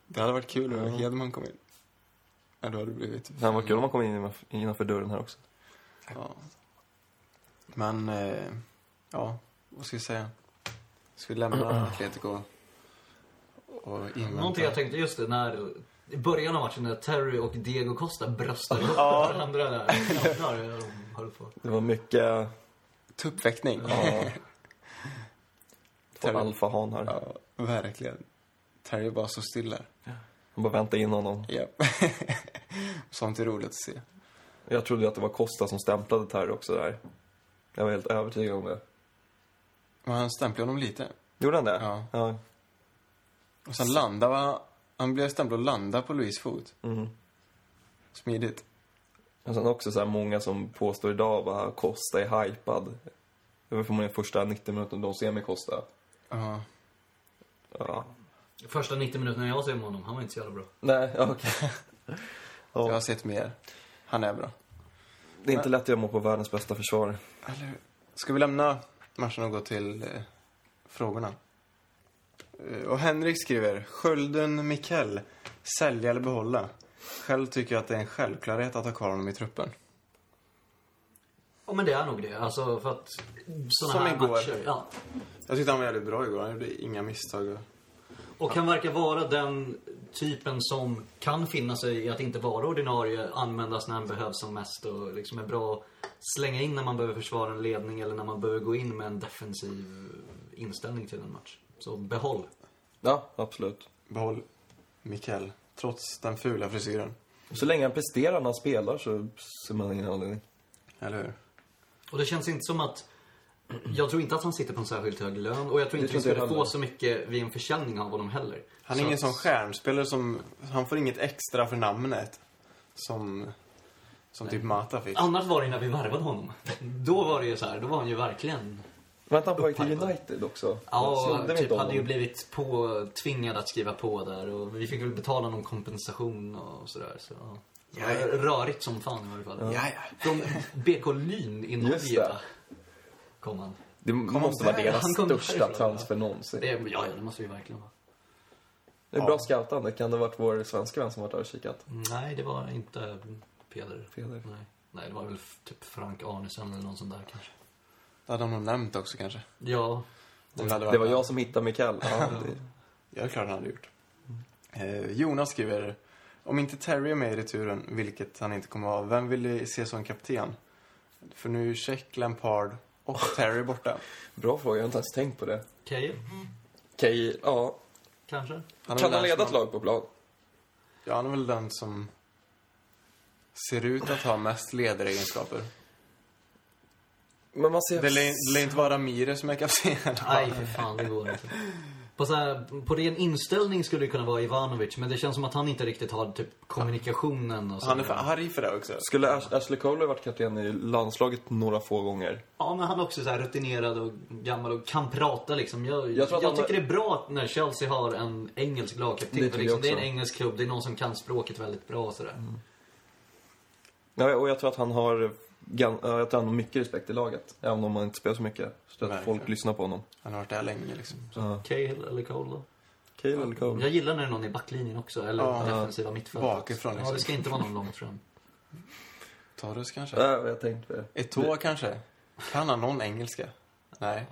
B: Det hade varit kul om Hedman kom in. Ja, då hade det blivit...
D: Det var kul om han kom in innanför dörren här också.
B: Ja. Men, eh, ja, vad ska vi säga? Ska vi lämna Atletico och invänta?
C: Någonting jag tänkte just det, när, i början av matchen när Terry och Diego Costa bröstar ihop varandra där. Jävlar, var det på?
D: Det var mycket
B: Tuppfäktning.
D: ja, två
B: Terry-
D: alfahanar.
B: Ja, verkligen. Terry bara så stilla.
D: Han bara väntade in honom.
B: Ja. Sånt är roligt att se.
D: Jag trodde ju att det var Costa som stämplade Terry också där. Jag var helt övertygad om det.
B: Men han stämplade honom lite.
D: Gjorde han det?
B: Ja.
D: ja.
B: Och sen landade han... Han blev stämplad och landade på Louis fot.
D: Mm.
B: Smidigt.
D: Och sen också så här många som påstår idag bara Costa är hypad. Det var förmodligen första 90 minuterna de ser med Costa.
B: Ja.
D: Ja.
C: Första 90 minuterna jag ser med honom, han var inte så jävla bra.
D: Nej, ja, okej.
B: Jag har
D: Ja.
B: sett mer. Han är bra.
D: Det är inte lätt att göra mål på världens bästa försvar.
B: Eller, ska vi lämna matchen och gå till eh, frågorna? Eh, Och Henrik skriver, Skölden Mikell, sälja eller behålla? Själv tycker jag att det är en självklarhet att ha kvar honom i truppen.
C: Ja men det är nog det. Alltså för att
B: Som
C: sådana här
B: igår.
C: matcher. Ja.
B: Jag tyckte han var jävligt bra igår, han gjorde inga misstag. och-
C: Och han verkar vara den typen som kan finna sig i att inte vara ordinarie, användas när han behövs som mest och liksom är bra att slänga in när man behöver försvara en ledning eller när man behöver gå in med en defensiv inställning till en match. Så behåll.
D: Ja, absolut.
B: Behåll Mikell, trots den fula frisyren.
D: Så länge han presterar när han spelar så ser man ingen anledning.
B: Eller hur?
C: Och det känns inte som att... Jag tror inte att han sitter på en särskilt hög lön och jag tror inte vi
D: tror inte jag
C: skulle få
D: heller.
C: så mycket vid en försäljning av honom heller.
B: Han är
C: så
B: ingen
C: att-
B: sån stjärnspelare som, han får inget extra för namnet. Som, som typ Mata fick.
C: Annars var det ju när vi värvade honom. Då var det ju så här, då var han ju verkligen...
D: Men att han på väg till
C: Upphypad.
D: United också.
C: Ja,
D: Såg det
C: typ
D: inte om
C: hade ju
D: honom?
C: blivit påtvingad att skriva på där och vi fick väl betala någon kompensation och sådär. Så, ja.
B: Ja, ja.
C: Rörigt som fan i varje fall.
B: Ja, ja.
C: Från BK Lyn i
D: Just
C: Norge
D: det.
C: va? kom han.
D: Det måste vara
B: där.
D: deras
C: Han kom därifrån,
D: största
C: ja.
D: transfer någonsin.
C: Det, ja, ja, det måste vi verkligen vara.
D: Det är bra scoutande. Kan det ha varit vår svenska vän som varit där och kikat?
C: Nej, det var inte Peder.
D: Peder.
C: Nej. Nej, det var väl f- typ Frank Arnesen eller någon sån där kanske.
B: Det hade han nog nämnt också kanske.
C: Ja,
B: Om det
D: Det
B: hade varit
D: var jag som hittade Mikael. Ja, det...
B: Ja, det är klart han hade gjort.
D: Mm.
B: Eh, Jonas skriver, om inte Terry är med i returen, vilket han inte kommer att vara, vem vill ni se som kapten? För nu är ju Check, Lampard och Terry borta.
D: Bra fråga, jag har inte ens tänkt på det.
C: Keje
D: Okej, ja.
C: kanske.
B: är
D: Kan
B: väl
D: han
B: den
D: leda ett
B: som-
D: lag på plan?
B: Ja, han är väl den som ser ut att ha mest ledaregenskaper.
D: Men man ser...
B: Det lär det lär inte vara Ramirez som är kapten.
D: Alltså,
C: Nej, för fan, det går inte. På, så här, på ren inställning skulle det kunna vara Ivanovic, men det känns som att han inte riktigt har typ kommunikationen och så.
B: Han är för arg för det också.
D: Skulle Ash- Ashley Cole ha varit kapten i landslaget några få gånger?
C: Ja, men han är också så här rutinerad och gammal och kan prata liksom. Jag, jag,
D: Jag tror att han-
C: tycker det är bra att när Chelsea har en engelsk
D: Det
C: lagkapten. för
D: tycker
C: Liksom,
D: jag
C: det är en
D: också.
C: engelsk klubb, det är någon som kan språket väldigt bra och sådär.
D: Ja, och jag tror att han har... gan- ja, Jag tror han har mycket respekt i laget. Även om han inte spelar så mycket. Så tror jag att
B: Verkligen.
D: folk lyssnar på honom.
B: Han har varit där länge liksom.
D: Ja.
C: Cahill eller Cole då?
D: Cale eller Cole?
C: Jag gillar när det är någon i backlinjen också, eller
B: Ja,
C: defensiva mittfältet.
B: bakifrån,
C: Ja,
B: liksom.
C: det ska inte vara någon långt fram.
B: Torres kanske?
D: Ja, jag tänkte på det.
B: Eto'o kanske? Kan han någon engelska? Nej.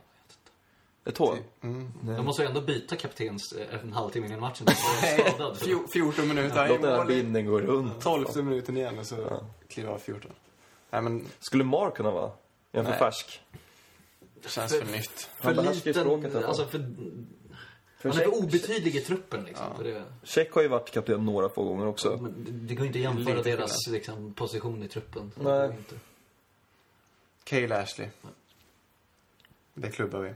D: Ett hår?
B: Mm.
D: Nej.
C: De måste ju ändå byta kaptens eh, en halvtimme innan matchen. Han är skadad.
B: Fjo- 14 minuter. Han är i
D: Låt den här
B: mål i-
D: binden gå runt.
B: Tolfte minuten igen och så
D: Ja.
B: kliver av 14. Nej, men
D: Skulle Mar kunna vara? Är han för
B: Nej.
D: färsk?
B: det känns för nytt.
C: För
D: Han behärskar ju språket,
C: liten,
D: alltså.
C: alltså för...
D: För
C: han är för
D: Check-
C: obetydlig i truppen liksom. För det,
D: Check har ju varit kapten några få gånger också.
C: men det går inte att jämföra
B: Lite
C: deras liksom, position i truppen. Det
D: Nej.
C: går Inte.
B: Cale Ashley. Det klubbar vi.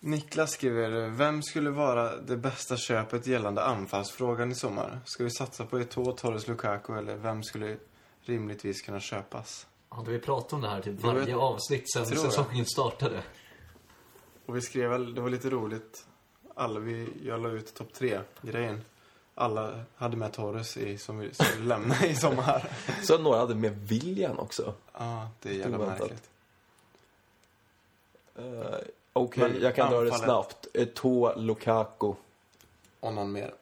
B: Niklas skriver, vem skulle vara det bästa köpet gällande anfallsfrågan i sommar? Ska vi satsa på Eto'o, Torres, Lukaku eller vem skulle rimligtvis kunna köpas?
C: Hade vi pratat om det här typ
B: Jag vet-
C: varje avsnitt sen
B: tror jag.
C: säsongen startade?
B: Och vi skrev väl, det var lite roligt, alla vi, jag la ut topp tre-grejen. Alla hade med Torres i, som vi skulle lämna i sommar.
D: Sen några hade med William också.
B: Ja, det är jävla
D: Oväntat.
B: märkligt.
D: Eh, Okej,
B: Men
D: jag kan dra det
B: anfallet-
D: snabbt. Eto'o, Lukaku.
B: Och någon mer.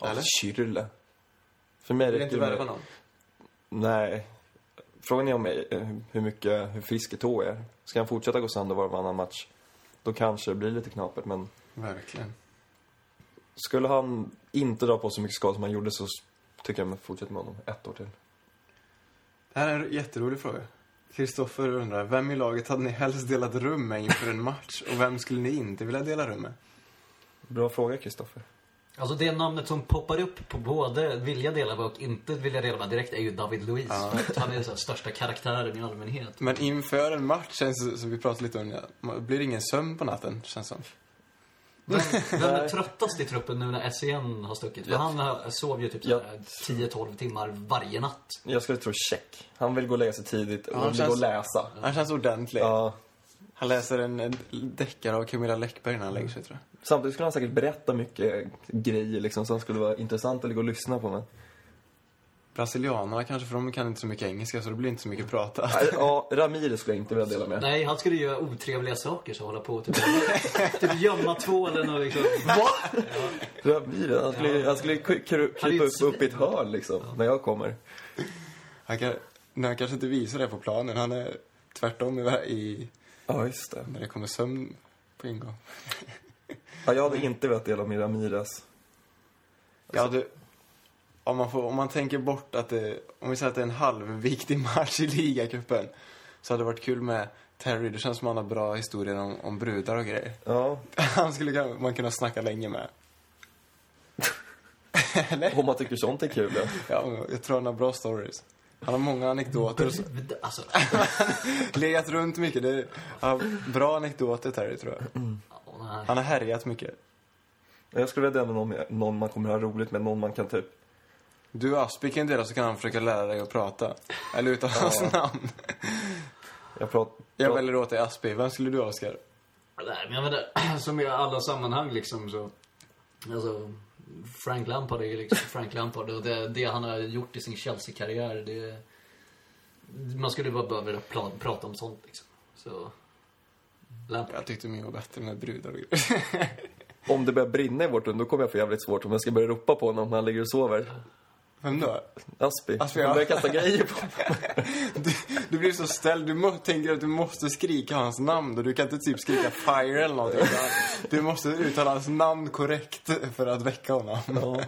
D: Ja,
B: Eller?
D: Kyrle. För mig
B: Vill inte
D: räcker det
B: värva
D: med...
B: någon?
D: Nej. Frågan är om eh, hur mycket, hur frisk Eto'o är. Ska han fortsätta gå sönder var och varannan match? Då kanske det blir lite knapert, men
B: Verkligen.
D: skulle han inte dra på så mycket skada som han gjorde så s- tycker jag man fortsätter med honom ett år till.
B: Det här är en jätterolig fråga. Kristoffer undrar, vem i laget hade ni helst delat rum med inför en match och vem skulle ni inte vilja dela rum med?
D: Bra fråga, Kristoffer.
C: Alltså det namnet som poppar upp på både vilja dela med och inte vilja dela med direkt är ju David Luiz. För att Han är så här, största karaktären i allmänhet.
B: Men inför en match, känns det som vi pratade lite om, det, blir det ingen sömn på natten, känns som.
C: Vem, vem är tröttast i truppen nu när SCN har stuckit? För han har- sov ju typ så här 10-12 timmar varje natt.
D: Jag skulle tro check. Han vill gå och lägga sig tidigt och
B: han
D: vill
B: känns-
D: gå och läsa.
B: Han känns ordentlig.
D: Ja.
B: Han läser en, en deckare av Camilla Läckberg när han lägger sig, tror jag.
D: Samtidigt skulle han säkert berätta mycket grejer liksom, som skulle vara intressant att ligga och lyssna på. Men...
B: Brasilianerna kanske, för de kan inte så mycket engelska, så det blir inte så mycket prata.
D: Nej, Ja, Ramirez skulle jag inte vilja dela med.
C: Nej, han skulle ju göra otrevliga saker så hålla på och typ, typ gömma tvålen och liksom...
D: Ramirez, han skulle, han skulle kry- kry-
C: Han är ju
D: krypa
C: ett
D: upp, upp i ett hörn liksom, när jag kommer.
B: Han, kan, nej, han kanske inte visar det på planen, han är tvärtom i, i,
D: Ja, just det.
B: när det kommer sömn på en gång.
D: Ja, jag hade inte velat dela med Ramirez.
B: Ja, du, om, man får, om man tänker bort att det, om vi säger att det är en halvviktig match i ligacupen, så hade det varit kul med Terry. Det känns som han har bra historier om, om brudar och grejer.
D: Ja,
B: Han skulle kan- man kunna snacka länge med.
D: om man tycker sånt är kul. Ja.
B: Ja, men jag tror han har bra stories. Han har många anekdoter. och så-
C: Alltså,
B: Legat runt mycket. Det är, han har bra anekdoter, Terry, tror jag.
C: åh, nej.
B: Han har härjat mycket.
D: Jag skulle vilja dela med någon, någon man kommer ha roligt med, någon man kan typ...
B: Du och Aspik kan dela så kan han försöka lära dig att prata. Eller utan hans namn.
D: Jag pratar...
B: Jag väljer åt dig Aspik. Vem skulle du ha, Oskar?
C: Nej, men jag menar, som i alla sammanhang liksom så... Alltså, Frank Lampard är ju liksom Frank Lampard och det, det han har gjort i sin Chelsea-karriär, det... Man skulle bara behöva pla- prata om sånt liksom. Så... Lampard.
B: Jag tyckte min var bättre med brudar och grejer.
D: Om det börjar brinna i vårt rum, då kommer jag få jävligt svårt om jag ska börja ropa på honom när han ligger och sover.
B: Vem då?
D: Aspi.
B: Aspi,
D: Han
B: ja.
D: börjar kasta grejer på
B: Du, du blir så ställd. Du må, tänker att du måste skrika hans namn och du kan inte typ skrika fire eller någonting. utan Du måste uttala hans namn korrekt för att väcka honom.
D: Ja.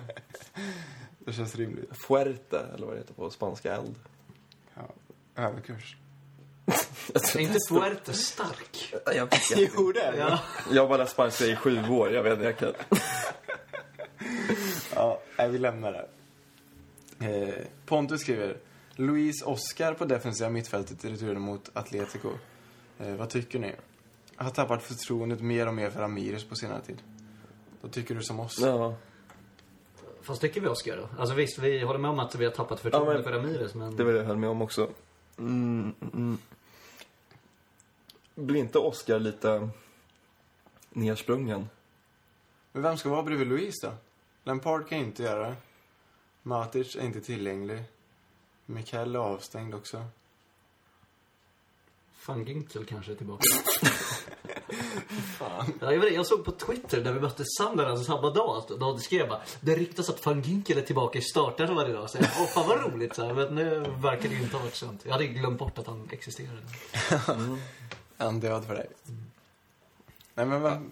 B: Det känns rimligt.
D: Fuerte, eller vad det heter på spanska, eld.
B: Ja. Överkurs.
C: Är inte Fuerte stark?
D: Jag,
B: Jo, det är det.
C: Ja.
D: jag har bara läst spanska i sju år, jag vet inte, jag kan...
B: Ja, nej, vi lämnar det. Eh, Pontus skriver. Luis Oscar på defensiva mittfältet i returen mot Atletico. Eh, vad tycker ni? Jag har tappat förtroendet mer och mer för Ramirez på senare tid. Då tycker du som oss.
D: Ja.
C: Fast tycker vi Oscar då? Alltså visst, vi håller med om att vi har tappat förtroende
D: Ja, men-
C: för Ramirez, men...
D: Det var det jag höll med om också. Mm, mm. Blir inte Oscar lite nersprungen?
B: Men vem ska vara bredvid Luis då? Lampard kan inte göra det. Matic är inte tillgänglig. Mikael är avstängd också.
C: Van Ginkel kanske är tillbaka. Fan. Ja, Jag, vet, inte, jag såg på Twitter när vi mötte Sunderland samma dag att de skrev bara Det ryktas att Van Ginkel är tillbaka i startelvan idag. Så jag, Åh, fan vad roligt. Så här, men nu verkar det ju inte ha varit sant. Jag hade glömt bort att han existerade.
B: Är han död för dig? Mm. Nej men vem?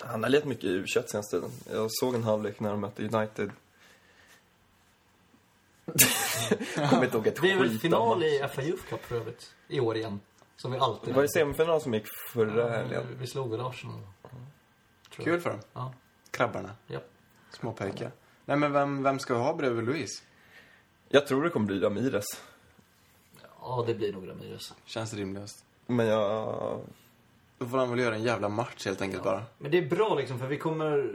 D: Han har lett mycket i u senaste tiden. Jag såg en halvlek när de mötte United. Kommer inte ihåg ett
C: Det är väl
D: skit
C: final
D: om
C: i FA Youth Cup för övrigt. I år igen. Som vi alltid
D: Var det semifinal som gick förra helgen?
C: Vi slog väl Arsenal. Tror jag.
B: Kul för dem.
C: Ja,
B: Krabbarna.
C: ja.
B: Småpojkar. Nej men vem, vem ska vi ha bredvid Luis?
D: Jag tror det kommer bli Ramirez.
C: ja, det blir nog Ramirez.
B: Känns rimligast.
D: Men jag...
B: Då får han väl göra en jävla match helt enkelt bara.
C: Men det är bra liksom för vi kommer...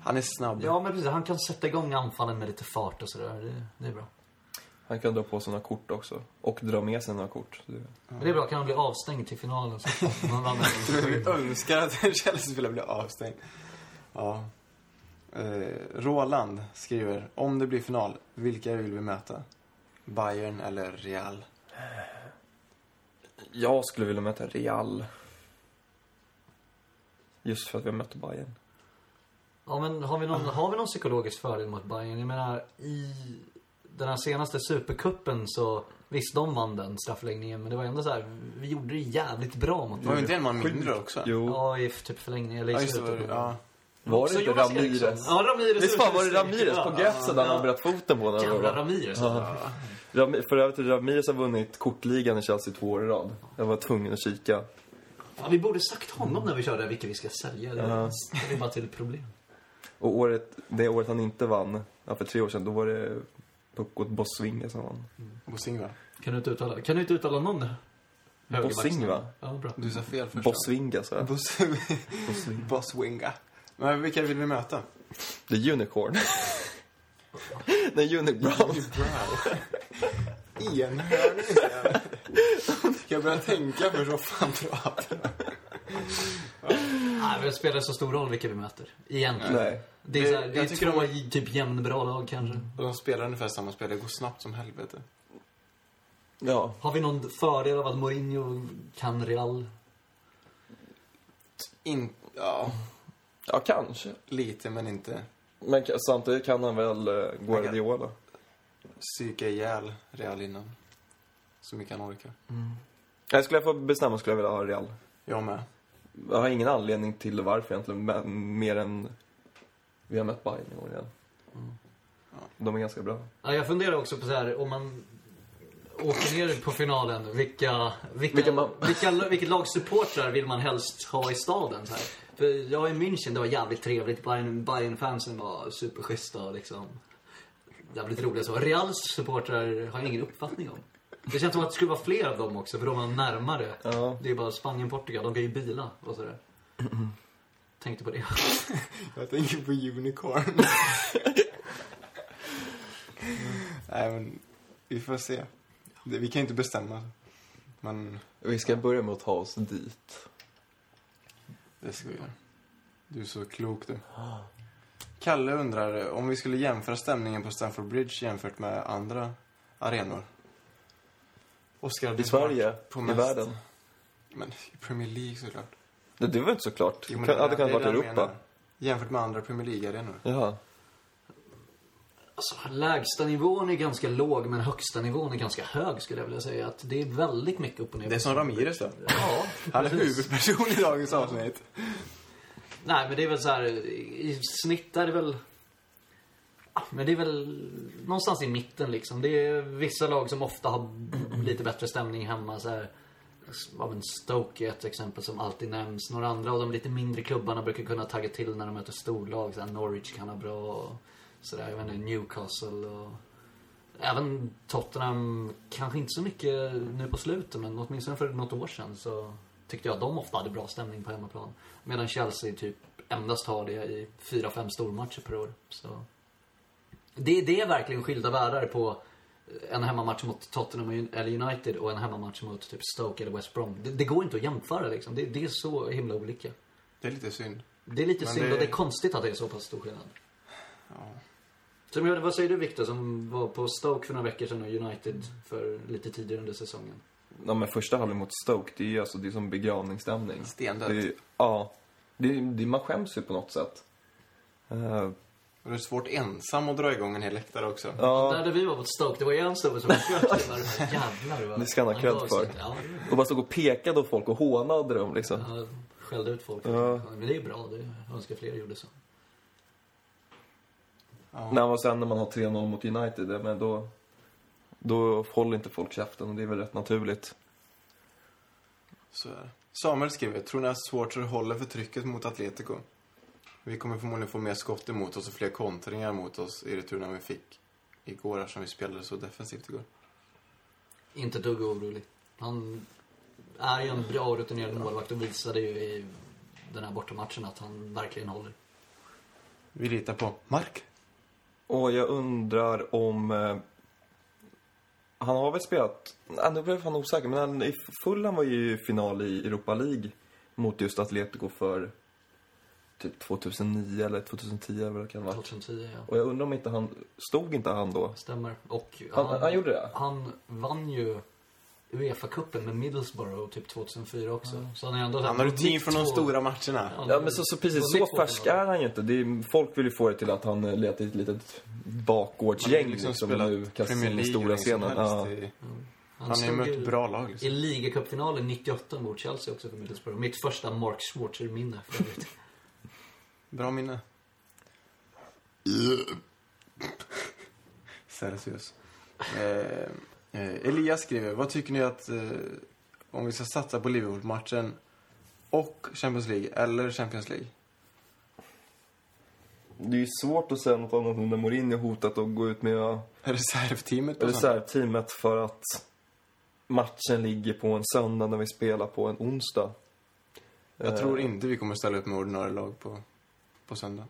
B: Han är snabb.
C: Ja men precis, han kan sätta igång anfallen med lite fart och sådär. Det, det är bra.
D: Han kan dra på sig några kort också. Och dra med sig några kort. Det-
C: Men det är bra, kan han bli avstängd till finalen så får man vann
B: Vi önskar att Chelsea skulle bli avstängd. Ja. Eh, Roland skriver, om det blir final, vilka vill vi möta? Bayern eller Real?
D: Jag skulle vilja möta Real. Just för att vi har mött Bayern.
C: Ja men har vi, någon, har vi någon psykologisk fördel mot Bayern? Jag menar i den här senaste supercupen så Visst, de vann den straffläggningen men det var ändå så här, vi gjorde det jävligt bra mot
B: Det var
C: dem.
B: ju inte en man mindre också.
D: Jo.
C: Ja, i f- typ förlängning eller
B: Ja,
C: i
B: just det. var det.
C: slutet.
B: Ja.
D: Var
C: Också
D: det inte
C: Jonas
D: Ramirez?
C: Eriksson. Ja, Ramirez.
D: Visst fan var det Ramirez på
C: Ja,
D: Götze där
C: ja.
D: han bröt foten på den?
C: Jävla Ramirez.
D: Ja.
C: alltså.
D: Rami- För övrigt, Ramirez har vunnit kortligan i Chelsea två år i rad. Jag var tvungen att kika.
C: Ja, vi borde sagt honom när vi körde vilka vi ska sälja. Det
D: Ja.
C: det är bara till problem.
D: Och året, det året han inte vann, ja, för tre år sedan, då var det Puckot Bosvinga som vann.
B: Bosingva.
C: Kan du inte uttala, kan du inte uttala någon högerback?
D: Bosingva?
C: Ja, bra.
B: Du sa fel först.
D: Bosvinga, så jag.
B: Boss... Bosswinga. Men vilka vill vi möta?
D: Det är Unicorn. Nej, Unibrown.
B: Typ Enhörning. jävlar. Ska jag börja tänka för så fan bra.
C: Nej, men det spelar så stor roll vilka vi möter. Egentligen.
D: Nej.
C: Det är så här,
B: Jag
C: jag
B: tycker
C: tycker de
B: de-
C: var typ jämnbra lag kanske.
B: Och de spelar ungefär samma spel. Det går snabbt som helvete.
D: Ja.
C: Har vi någon fördel av att Mourinho kan Real?
B: In... Ja,
D: ja, kanske.
B: lite men inte
D: Men ka- samtidigt kan han väl eh, Guardiola.
B: psyka ihjäl Real innan. Så mycket han orkar.
D: Nej, skulle jag få bestämma skulle jag vilja ha Real.
B: Jag med.
D: Jag har ingen anledning till varför egentligen, men mer än vi har mött Bayern i år igen.
B: Mm.
D: De är ganska bra.
C: Ja, jag funderar också på så här, om man åker ner på finalen, vilka, vilka,
D: Vilka
C: vilka,
D: man-
C: vilket lags supportrar vill man helst ha i staden? Så här? För jag var i München, det var jävligt trevligt. Bayern, Bayern-fansen var superschyssta och liksom jävligt roliga. Så Reals supportrar har jag ingen uppfattning om. Det känns som att det skulle vara fler av dem också, för de var närmare.
D: Ja.
C: Det är bara Spanien, Portugal, de kan ju bila och sådär. Tänkte på det.
B: Jag tänker på Unicorn. Nej, men vi får se. Det, vi kan ju inte bestämma. Men
D: Vi ska börja med att ta oss dit.
B: det ska vi göra. Du är så klok du. Kalle undrar eh, om vi skulle jämföra stämningen på Stamford Bridge jämfört med andra arenor. Oscar, du
D: I
B: har
D: Sverige,
B: varit på
D: i
B: mest-
D: världen.
B: Men i Premier League såklart.
D: Det, det var inte så klart.
B: Jo, men
D: det kan- hade
B: det
D: kunnat
B: är
D: varit
B: det jag
D: Europa.
B: menar. Jämfört med andra Premier League-arenor.
D: Jaha.
C: Alltså, lägsta nivån är ganska låg, men högsta nivån är ganska hög skulle jag vilja säga. Att det är väldigt mycket upp och ner.
B: Det är som Ramirez då.
C: Ja,
B: Han är
C: precis.
B: huvudperson i dagens avsnitt.
C: Nej, men det är väl så här, i snitt är det väl... Ja, Men det är väl någonstans i mitten liksom. Det är vissa lag som ofta har lite bättre stämning hemma. Så här. Ja, men Stoke är ett exempel som alltid nämns. Några andra av de lite mindre klubbarna brukar kunna tagga till när de möter storlag. Så här, Norwich kan ha bra och sådär. Jag vet inte, Newcastle och... Även Tottenham, kanske inte så mycket nu på slutet, men åtminstone för något år sedan så tyckte jag att de ofta hade bra stämning på hemmaplan. Medan Chelsea typ endast har det i fyra, fem stormatcher per år. Så. Det, det är verkligen skilda världar på en hemmamatch mot Tottenham och Un- eller United och en hemmamatch mot typ Stoke eller West Brom. Det, det går inte att jämföra liksom. Det, det är så himla olika.
B: Det är lite synd.
C: Det är lite
B: Men
C: synd
B: det-
C: och det är konstigt att det är så pass stor skillnad.
B: Ja.
C: Så, men vad säger du Victor som var på Stoke för några veckor sedan och United för lite tidigare under säsongen?
D: Ja, men första halvlek mot Stoke, det är ju alltså, det är som begravningsstämning.
B: Stendött.
D: Det är, ja. Det är, det är, man skäms ju på något sätt. Eh,
B: Och det är svårt ensam att dra igång en hel läktare också.
D: ja.
C: Där, där vi var mot Stoke, det var ju en snubbe som sköt den där. Jävlar vad...
D: Det ska han ha cred
C: gav
D: för.
C: sig. Ja, det-
D: Och bara stod och pekade åt folk och hånade dem liksom.
C: ja, skällde ut folk.
D: Ja.
C: Men det är bra, det jag önskar fler gjorde så.
B: Ja.
D: Nej, och sen när man har 3-0 mot United, ja, men då, då håller inte folk käften och det är väl rätt naturligt.
B: Så är det. Samuel skriver, tror ni att Schwarzer håller för trycket mot Atletico? Vi kommer förmodligen få mer skott emot oss och fler kontringar mot oss i returerna vi fick igår eftersom vi spelade så defensivt igår.
C: Inte ett dugg orolig. Han är ju en bra och rutinerad målvakt och visade ju i den här bortamatchen att han verkligen håller.
B: Vi litar på Mark.
D: Och jag undrar om... Eh, han har väl spelat... Nej, nu blev jag fan osäker, men han, i Fulham var ju i final i Europa League mot just Atletico för typ 2009 eller 2010 eller vad det kan vara.
C: 2010, ja.
D: Och jag undrar om inte han... Stod inte han då?
C: Stämmer. Och
D: Han, han, gjorde det?
C: Han vann ju Uefa-cupen med Middlesbrough typ 2004 också. Så han är ändå så här-
B: Han har rutin från de
C: två-
B: stora matcherna.
D: Ja, men så, så precis
C: det var
D: så
C: mitt
D: färsk
C: återval.
D: är han ju inte. Det är, folk vill ju få det till att han eh, letar i ett litet
B: Han har
D: bakgårdsgäng
B: liksom
D: liksom,
B: spelat
D: nu kastas
B: Premier
D: in i
B: League
D: stora
B: hur länge som
D: scenen.
B: helst
D: Ja.
B: i-
C: Han,
B: Han har ju
C: stod
B: mött bra lag
C: I
B: liksom.
C: ligacupfinalen 98 mot Chelsea också för Middlesbrough. Mitt första Mark Schwarzer-minne för övrigt.
B: Bra minne. Celsius. Eh, eh, Elias skriver, vad tycker ni att eh, om vi ska satsa på Liverpool-matchen och Champions League eller Champions League?
D: Det är ju svårt att säga något annat nu när Mourinho hotat att gå ut med
B: Reservteamet på söndag.
D: reservteamet för att matchen ligger på en söndag när vi spelar på en onsdag.
B: Jag tror inte vi kommer ställa upp med ordinarie lag på, på söndag.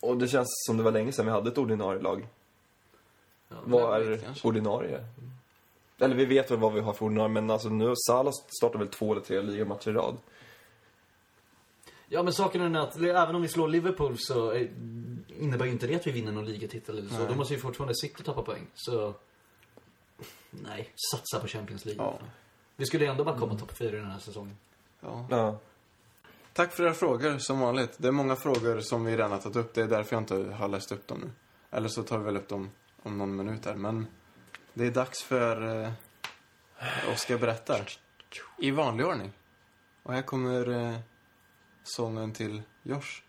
D: Och det känns som det var länge sedan vi hade ett ordinarie lag.
C: Ja,
D: Vad
B: vet
D: är
B: kanske.
D: ordinarie? Eller vi vet väl vad vi har för ordinarie, men alltså nu, Salah startar väl två eller tre ligamatcher i rad.
C: Ja men saken är den att även om vi slår Liverpool så eh, innebär ju inte det att vi vinner någon ligatitel eller så.
B: Nej.
C: Då måste ju fortfarande City tappa poäng. Så nej, satsa på Champions League.
B: Ja.
C: Vi skulle ändå bara komma topp fyra i den här säsongen.
B: Ja.
D: Ja.
B: Tack för era frågor, som vanligt. Det är många frågor som vi redan har tagit upp. Det är därför jag inte har läst upp dem nu. Eller så tar vi väl upp dem om någon minut här. Men det är dags för eh, Oskar berättar. I vanlig ordning. Och här kommer eh, sången till Josh.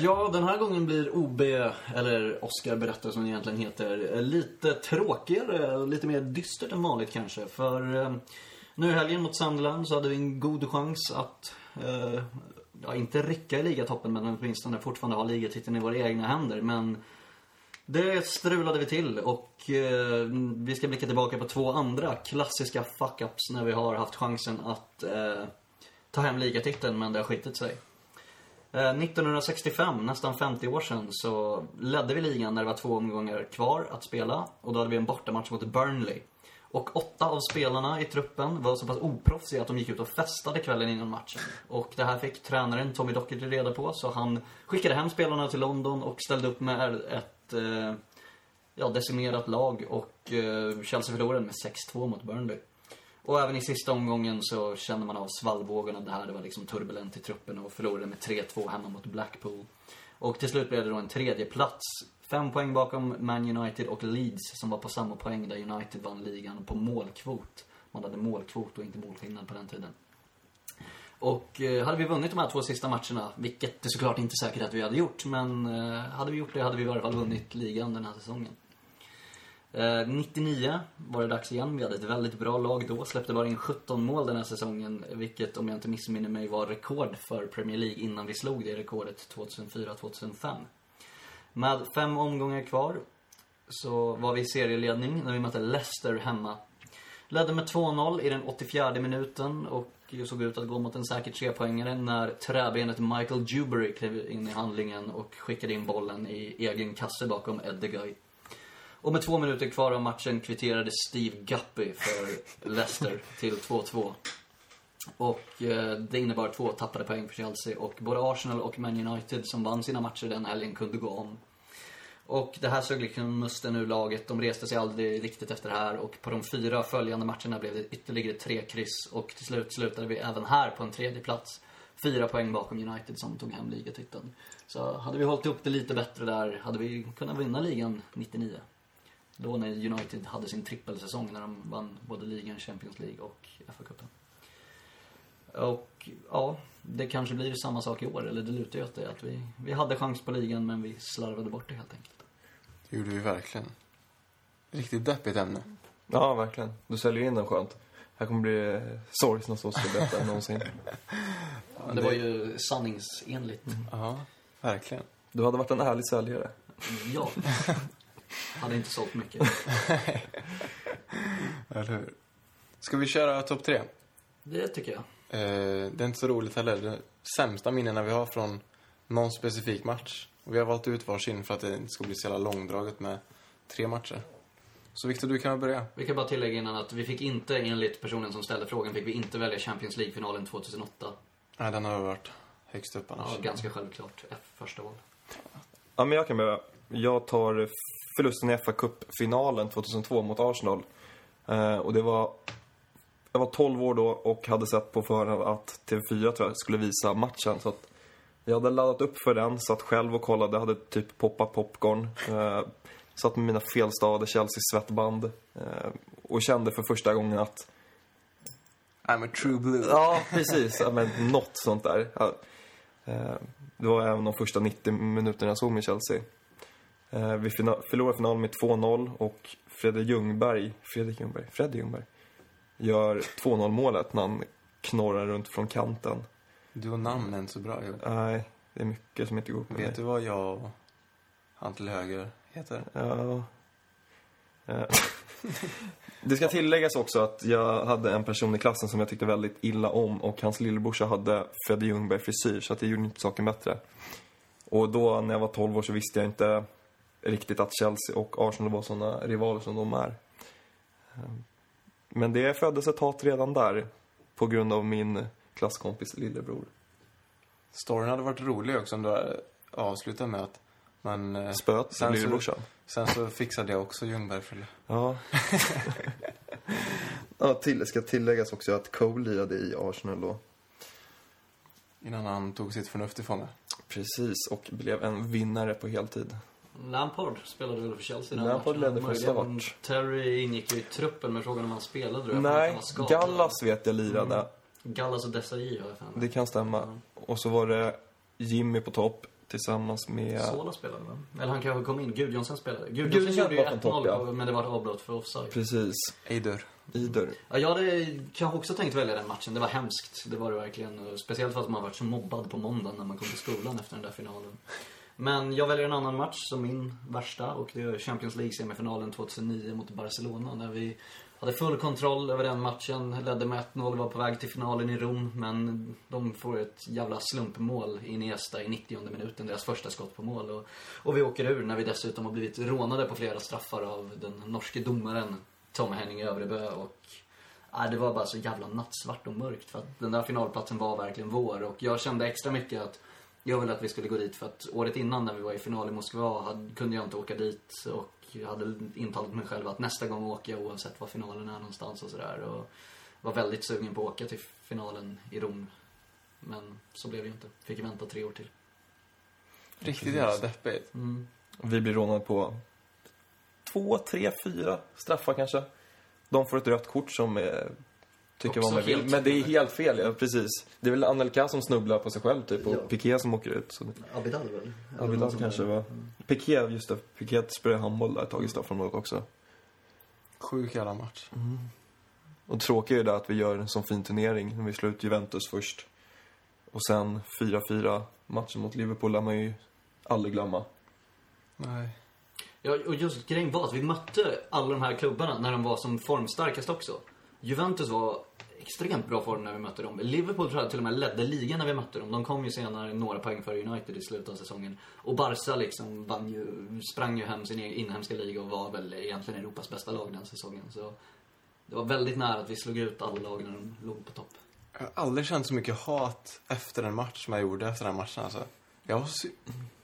C: Ja, den här gången blir OB, eller Oscar berättar som det egentligen heter, lite tråkigare och lite mer dystert än vanligt kanske. För eh, nu i helgen mot Sunderland så hade vi en god chans att, eh, ja inte räcka i ligatoppen men åtminstone fortfarande ha ligatiteln i våra egna händer. Men det strulade vi till och eh, vi ska blicka tillbaka på två andra klassiska fuck-ups när vi har haft chansen att eh, ta hem ligatiteln men det har skitit sig. Eh, 1965, nästan 50 år sedan, så ledde vi ligan när det var två omgångar kvar att spela. Och då hade vi en bortamatch mot Burnley. Och åtta av spelarna i truppen var så pass oproffsiga att de gick ut och festade kvällen innan matchen. Och det här fick tränaren Tommy Docherty reda på, så han skickade hem spelarna till London och ställde upp med ett eh, ja, decimerat lag och eh, Chelsea förlorade med 6-2 mot Burnley. Och även i sista omgången så kände man av svallvågorna. Det här det var liksom turbulent i truppen och förlorade med 3-2 hemma mot Blackpool. Och till slut blev det då en tredje plats. Fem poäng bakom Man United och Leeds som var på samma poäng där United vann ligan på målkvot. Man hade målkvot och inte målskillnad på den tiden. Och eh, hade vi vunnit de här två sista matcherna, vilket det är såklart inte säkert att vi hade gjort, men eh, hade vi gjort det hade vi i varje fall vunnit ligan den här säsongen. Eh, 99 var det dags igen. Vi hade ett väldigt bra lag då. Släppte bara in 17 mål den här säsongen, vilket om jag inte missminner mig var rekord för Premier League innan vi slog det rekordet 2004-2005. Med fem omgångar kvar så var vi i serieledning när vi mötte Leicester hemma. Ledde med 2-0 i den 84 minuten och såg ut att gå mot en säker trepoängare när träbenet Michael Dewberry klev in i handlingen och skickade in bollen i egen kasse bakom Eddeguy. Och med två minuter kvar av matchen kvitterade Steve Guppy för Leicester till 2-2. Och eh, det innebar två tappade poäng för Chelsea och både Arsenal och Man United som vann sina matcher den helgen kunde gå om. Och det här sög liksom musten ur laget. De reste sig aldrig riktigt efter det här och på de fyra följande matcherna blev det ytterligare tre kryss och till slut slutade vi även här på en tredje plats. Fyra poäng bakom United som tog hem ligatiteln. Så hade vi hållit upp det lite bättre där hade vi kunnat vinna ligan 99. Då när United hade sin trippelsäsong när de vann både ligan, Champions League och FA-cupen. Och ja, det kanske blir samma sak i år, eller det lutar ju åt det. Att vi, vi hade chans på ligan men vi slarvade bort det helt enkelt.
B: Det gjorde vi verkligen. Riktigt deppigt ämne.
D: Ja, verkligen. Du säljer in den skönt. Här kommer bli eh, sorgsna så ska berätta än någonsin.
C: det, var ju sanningsenligt.
B: Ja, verkligen.
D: Du hade varit en ärlig säljare.
C: Ja. Hade inte sålt mycket.
B: Eller hur? Ska vi köra topp tre?
C: Det tycker jag.
B: Eh, det är inte så roligt heller. Det sämsta minnena vi har från någon specifik match. Och vi har valt ut varsin för att det inte ska bli så jävla långdraget med tre matcher. Så Viktor, du kan väl börja.
C: Vi kan bara tillägga innan att vi fick inte, enligt personen som ställde frågan, fick vi inte välja Champions League-finalen 2008.
B: Nej, den har varit högst upp annars.
C: Ja, ganska självklart. F första val.
D: Ja, men jag kan börja. Jag tar förlusten i fa Cup-finalen 2002 mot Arsenal. Eh, och det var... Jag var 12 år då och hade sett på förhand att TV4 tror jag, skulle visa matchen. Så att Jag hade laddat upp för den, satt själv och kollade, hade typ poppat popcorn. Eh, satt med mina felstavade Chelsea-svettband. Eh, och kände för första gången att,
B: I'm a true blue.
D: ja precis, ja, men något sånt där. Ja. Eh, det var även de första 90 minuterna jag såg med Chelsea. Eh, vi fina- förlorade finalen med 2-0 och Fredrik Ljungberg, Fredrik Ljungberg, Fred Ljungberg, gör 2-0 målet när han knorrar runt från kanten.
B: Du och namnen så bra ihop.
D: Nej, det är mycket som inte går upp med mig.
B: Vet du vad jag och han till höger heter?
D: Ja. Eh, Det ska tilläggas också att jag hade en person i klassen som jag tyckte väldigt illa om och hans lillebrorsa hade Fredde Ljungberg frisyr så att det gjorde inte saken bättre. Och då när jag var 12 år så visste jag inte riktigt att Chelsea och Arsenal var såna rivaler som de är. Eh, Men det föddes ett hat redan där på grund av min klasskompis lillebror.
B: Storyn hade varit rolig också om du hade avslutat med att man... eh,
D: Spöt
B: sen så-
D: lillebrorsan.
B: Sen så fixade jag också Ljungberg för det.
D: Ja. ja till, ska tilläggas också att Cole lirade i Arsenal då.
B: Innan han tog sitt förnuft till fånga.
D: Precis, och blev en vinnare på heltid.
C: Lampard spelade väl för Chelsea den
D: Lampard
C: matchen?
D: ledde från
C: Möjligen
D: start.
C: Terry ingick ju i truppen, men frågan om han spelade då?
D: Nej, Gallas vet jag lirade.
C: Mm. Gallas och Desai har jag för
D: Det
C: mig.
D: kan stämma. Och så var det Jimmy på topp tillsammans med...
C: Sola spelade va? Eller han kanske kom in. Gudjonsen spelade. Gudjonsen
D: Gudjohnsen
C: gjorde ju
D: var på topp,
C: 1-0,
D: ja.
C: men det var ett avbrott för offside.
D: Precis,
B: Eidur.
D: Ider.
C: Ja, jag hade kanske också tänkt välja den matchen. Det var hemskt. Det var det verkligen. Och Speciellt för att man varit så mobbad på måndagen när man kom till skolan efter den där finalen. Men jag väljer en annan match som min värsta och det är Champions League-semifinalen 2009 mot Barcelona. Där vi hade full kontroll över den matchen, ledde med 1-0, var på väg till finalen i Rom. Men de får ett jävla slumpmål i Iniesta i 90 minuten, deras första skott på mål. Och, och vi åker ur när vi dessutom har blivit rånade på flera straffar av den norske domaren Tom Henning Övrebø och Nej, det var bara så jävla nattsvart och mörkt för att den där finalplatsen var verkligen vår och jag kände extra mycket att jag ville att vi skulle gå dit för att året innan när vi var i final i Moskva hade, kunde jag inte åka dit och jag hade intalat mig själv att nästa gång åker jag oavsett var finalen är någonstans och sådär och var väldigt sugen på att åka till finalen i Rom. Men så blev det ju inte. Fick vänta tre år till.
B: Riktigt jävla deppigt.
C: Mm.
D: Vi blir rånade på två, tre, fyra straffar kanske. De får ett rött kort som eh,
C: Också
D: tycker vad man vill.
C: helt
D: Men det är helt fel, ja precis. Det är väl Anelka som snubblar på sig själv typ och
C: Ja.
D: Piqué som åker ut. Så det...
C: Abidal väl?
D: Abidal kanske va? Piqué, just det. Piqué spelade handboll där ett tag i straffområdet också.
B: Sjuk jävla match.
D: Och tråkigt är det att vi gör en sån fin turnering när vi slår ut Juventus först. Och sen 4-4 matchen mot Liverpool lär man ju aldrig glömma.
B: Nej.
C: Ja, och just grejen var att vi mötte alla de här klubbarna när de var som formstarkast också. Juventus var extremt bra form när vi mötte dem. Liverpool tror jag till och med ledde ligan när vi mötte dem. De kom ju senare några poäng före United i slutet av säsongen. Och Barca liksom vann ju, sprang ju hem sin egen inhemska liga och var väl egentligen Europas bästa lag den säsongen. Så det var väldigt nära att vi slog ut alla lag när de låg på topp.
B: Jag har aldrig känt så mycket hat efter en match som jag gjorde efter den matchen alltså. Jag var så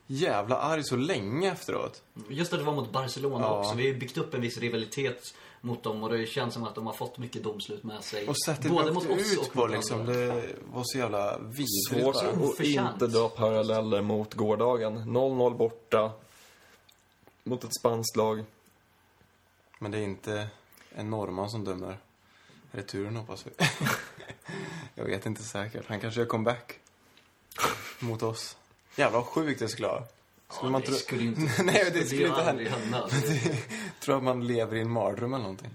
B: jävla arg så länge efteråt.
C: Just att det var mot Barcelona
B: Ja.
C: också. Vi har ju byggt upp en viss rivalitet mot dem och det känns som att de har fått mycket domslut med sig.
B: Och sättet
C: Både
B: vi
C: mot
B: åkte
C: oss
B: ut
C: och
B: på
C: mot
B: liksom,
C: andra.
B: det var så jävla vidrigt
D: Svårt
B: bara.
D: att
C: Oförtjänt.
D: inte dra paralleller mot gårdagen. 0-0 borta mot ett spanskt lag.
B: Men det är inte en norrman som dömer returen hoppas vi. jag vet inte säkert. Han kanske gör comeback. Mot oss. Jävlar vad sjukt det skulle vara. Skulle
C: Ja,
B: man
C: det
B: tro...
C: skulle ju inte,
B: Nej, det skulle
C: ju
B: inte hända.
C: aldrig hända. alltså.
B: Tror att man lever i en mardröm eller någonting.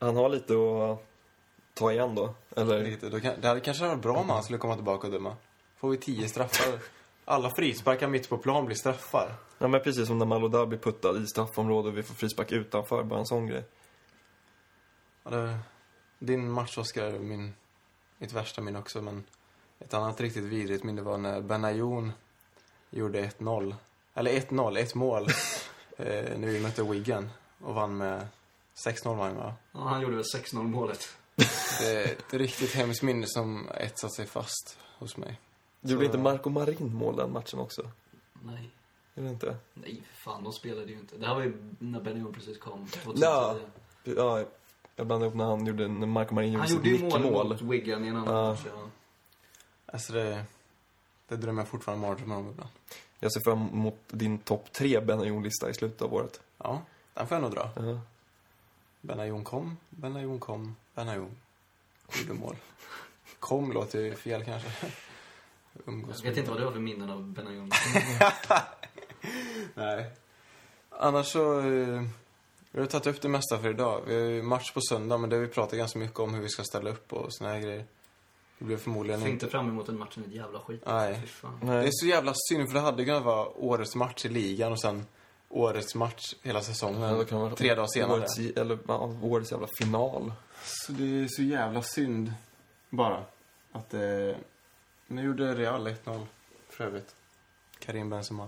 D: Han har lite att ta igen då. Eller
B: Lite. Då kan... Det hade kanske varit bra om han skulle komma tillbaka och döma. Får vi tio straffar. Alla frisparkar mitt på plan blir straffar.
D: Ja, men precis som när Malodar blir puttad i straffområdet och vi får frispark utanför, bara en sån grej.
B: Ja, det... Din match, Oskar, är min... mitt värsta minne också. Men ett annat riktigt vidrigt minne var när Benayoun gjorde 1-0. Eller 1-0, ett mål. eh, när vi mötte Wigan och vann med 6-0 vann vi, va?
C: Ja, han gjorde väl 6-0 målet.
B: Det är ett riktigt hemskt minne som etsat sig fast hos mig.
D: Gjorde
B: Så-
D: inte Marco Marin mål den matchen också?
C: Nej.
D: Gjorde inte?
C: Nej, fan, de spelade ju inte. Det här var ju när Benjamin precis kom. 2010.
D: Ja, Ja, jag blandade ihop när han gjorde, när Marco Marin gjorde
C: han
D: sitt
C: gjorde ju mål
D: nickmål.
C: mot Wigan i en annan
D: Ja.
C: match. Ja.
B: Alltså det... Det drömmer jag fortfarande mardrömmar om ibland.
D: Jag ser fram emot din topp tre Benayoun-lista i slutet av året.
B: Ja, den får jag nog dra.
D: Ja.
B: Benayoun kom, Benayoun kom, Benayoun gjorde mål. Kom låter ju fel kanske. Umgås
C: Jag vet inte vad du har för minnen av Benayoun.
B: Nej. Annars så... eh, Vi har tagit upp det mesta för idag. Vi har ju match på söndag, men det har vi pratat ganska mycket om hur vi ska ställa upp och såna här grejer. Det blir förmodligen
C: Ser
B: inte...
C: inte fram emot den matchen ett jävla skit.
B: Nej.
C: Fy fan.
B: Det
D: Nej.
B: är så jävla synd, för det hade kunnat vara årets match i ligan och sen årets match hela säsongen.
D: Ja, då kan man-
B: tre dagar senare.
D: Årets, eller, ja, årets jävla final.
B: Så det är så jävla synd bara att eh, Nu gjorde Real 1-0 för övrigt. Karim Benzema.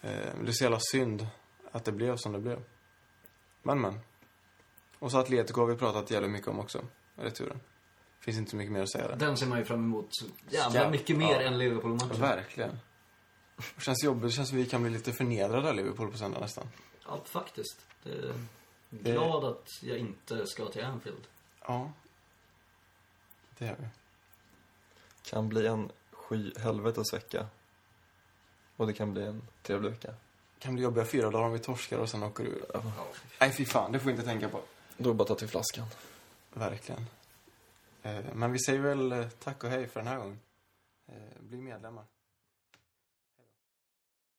B: Eh, det är så jävla synd att det blev som det blev. Men men. Och så Atletico har vi pratat jävligt mycket om också. Returen. Finns inte så mycket mer att säga där.
C: Den ser man ju fram emot så jävla
B: Jävlar.
C: mycket mer
B: Ja.
C: än Liverpool-matchen.
B: Verkligen. Det känns jobbigt. Det känns som vi kan bli lite förnedrade av Liverpool på söndag nästan.
C: Ja, faktiskt. Det är... Glad att jag inte ska till Anfield.
B: Ja. Det är vi.
D: Kan bli en sky helvetes vecka. Och det kan bli en trevlig vecka.
B: Kan bli jobbiga fyra dagar om vi torskar och sen åker ur.
C: Ja.
B: Nej, fy fan. Det får vi inte tänka på.
D: Då är det bara att ta till flaskan.
B: Verkligen. Eh, Men vi säger väl eh, tack och hej för den här gången. Eh, Bli medlemmar.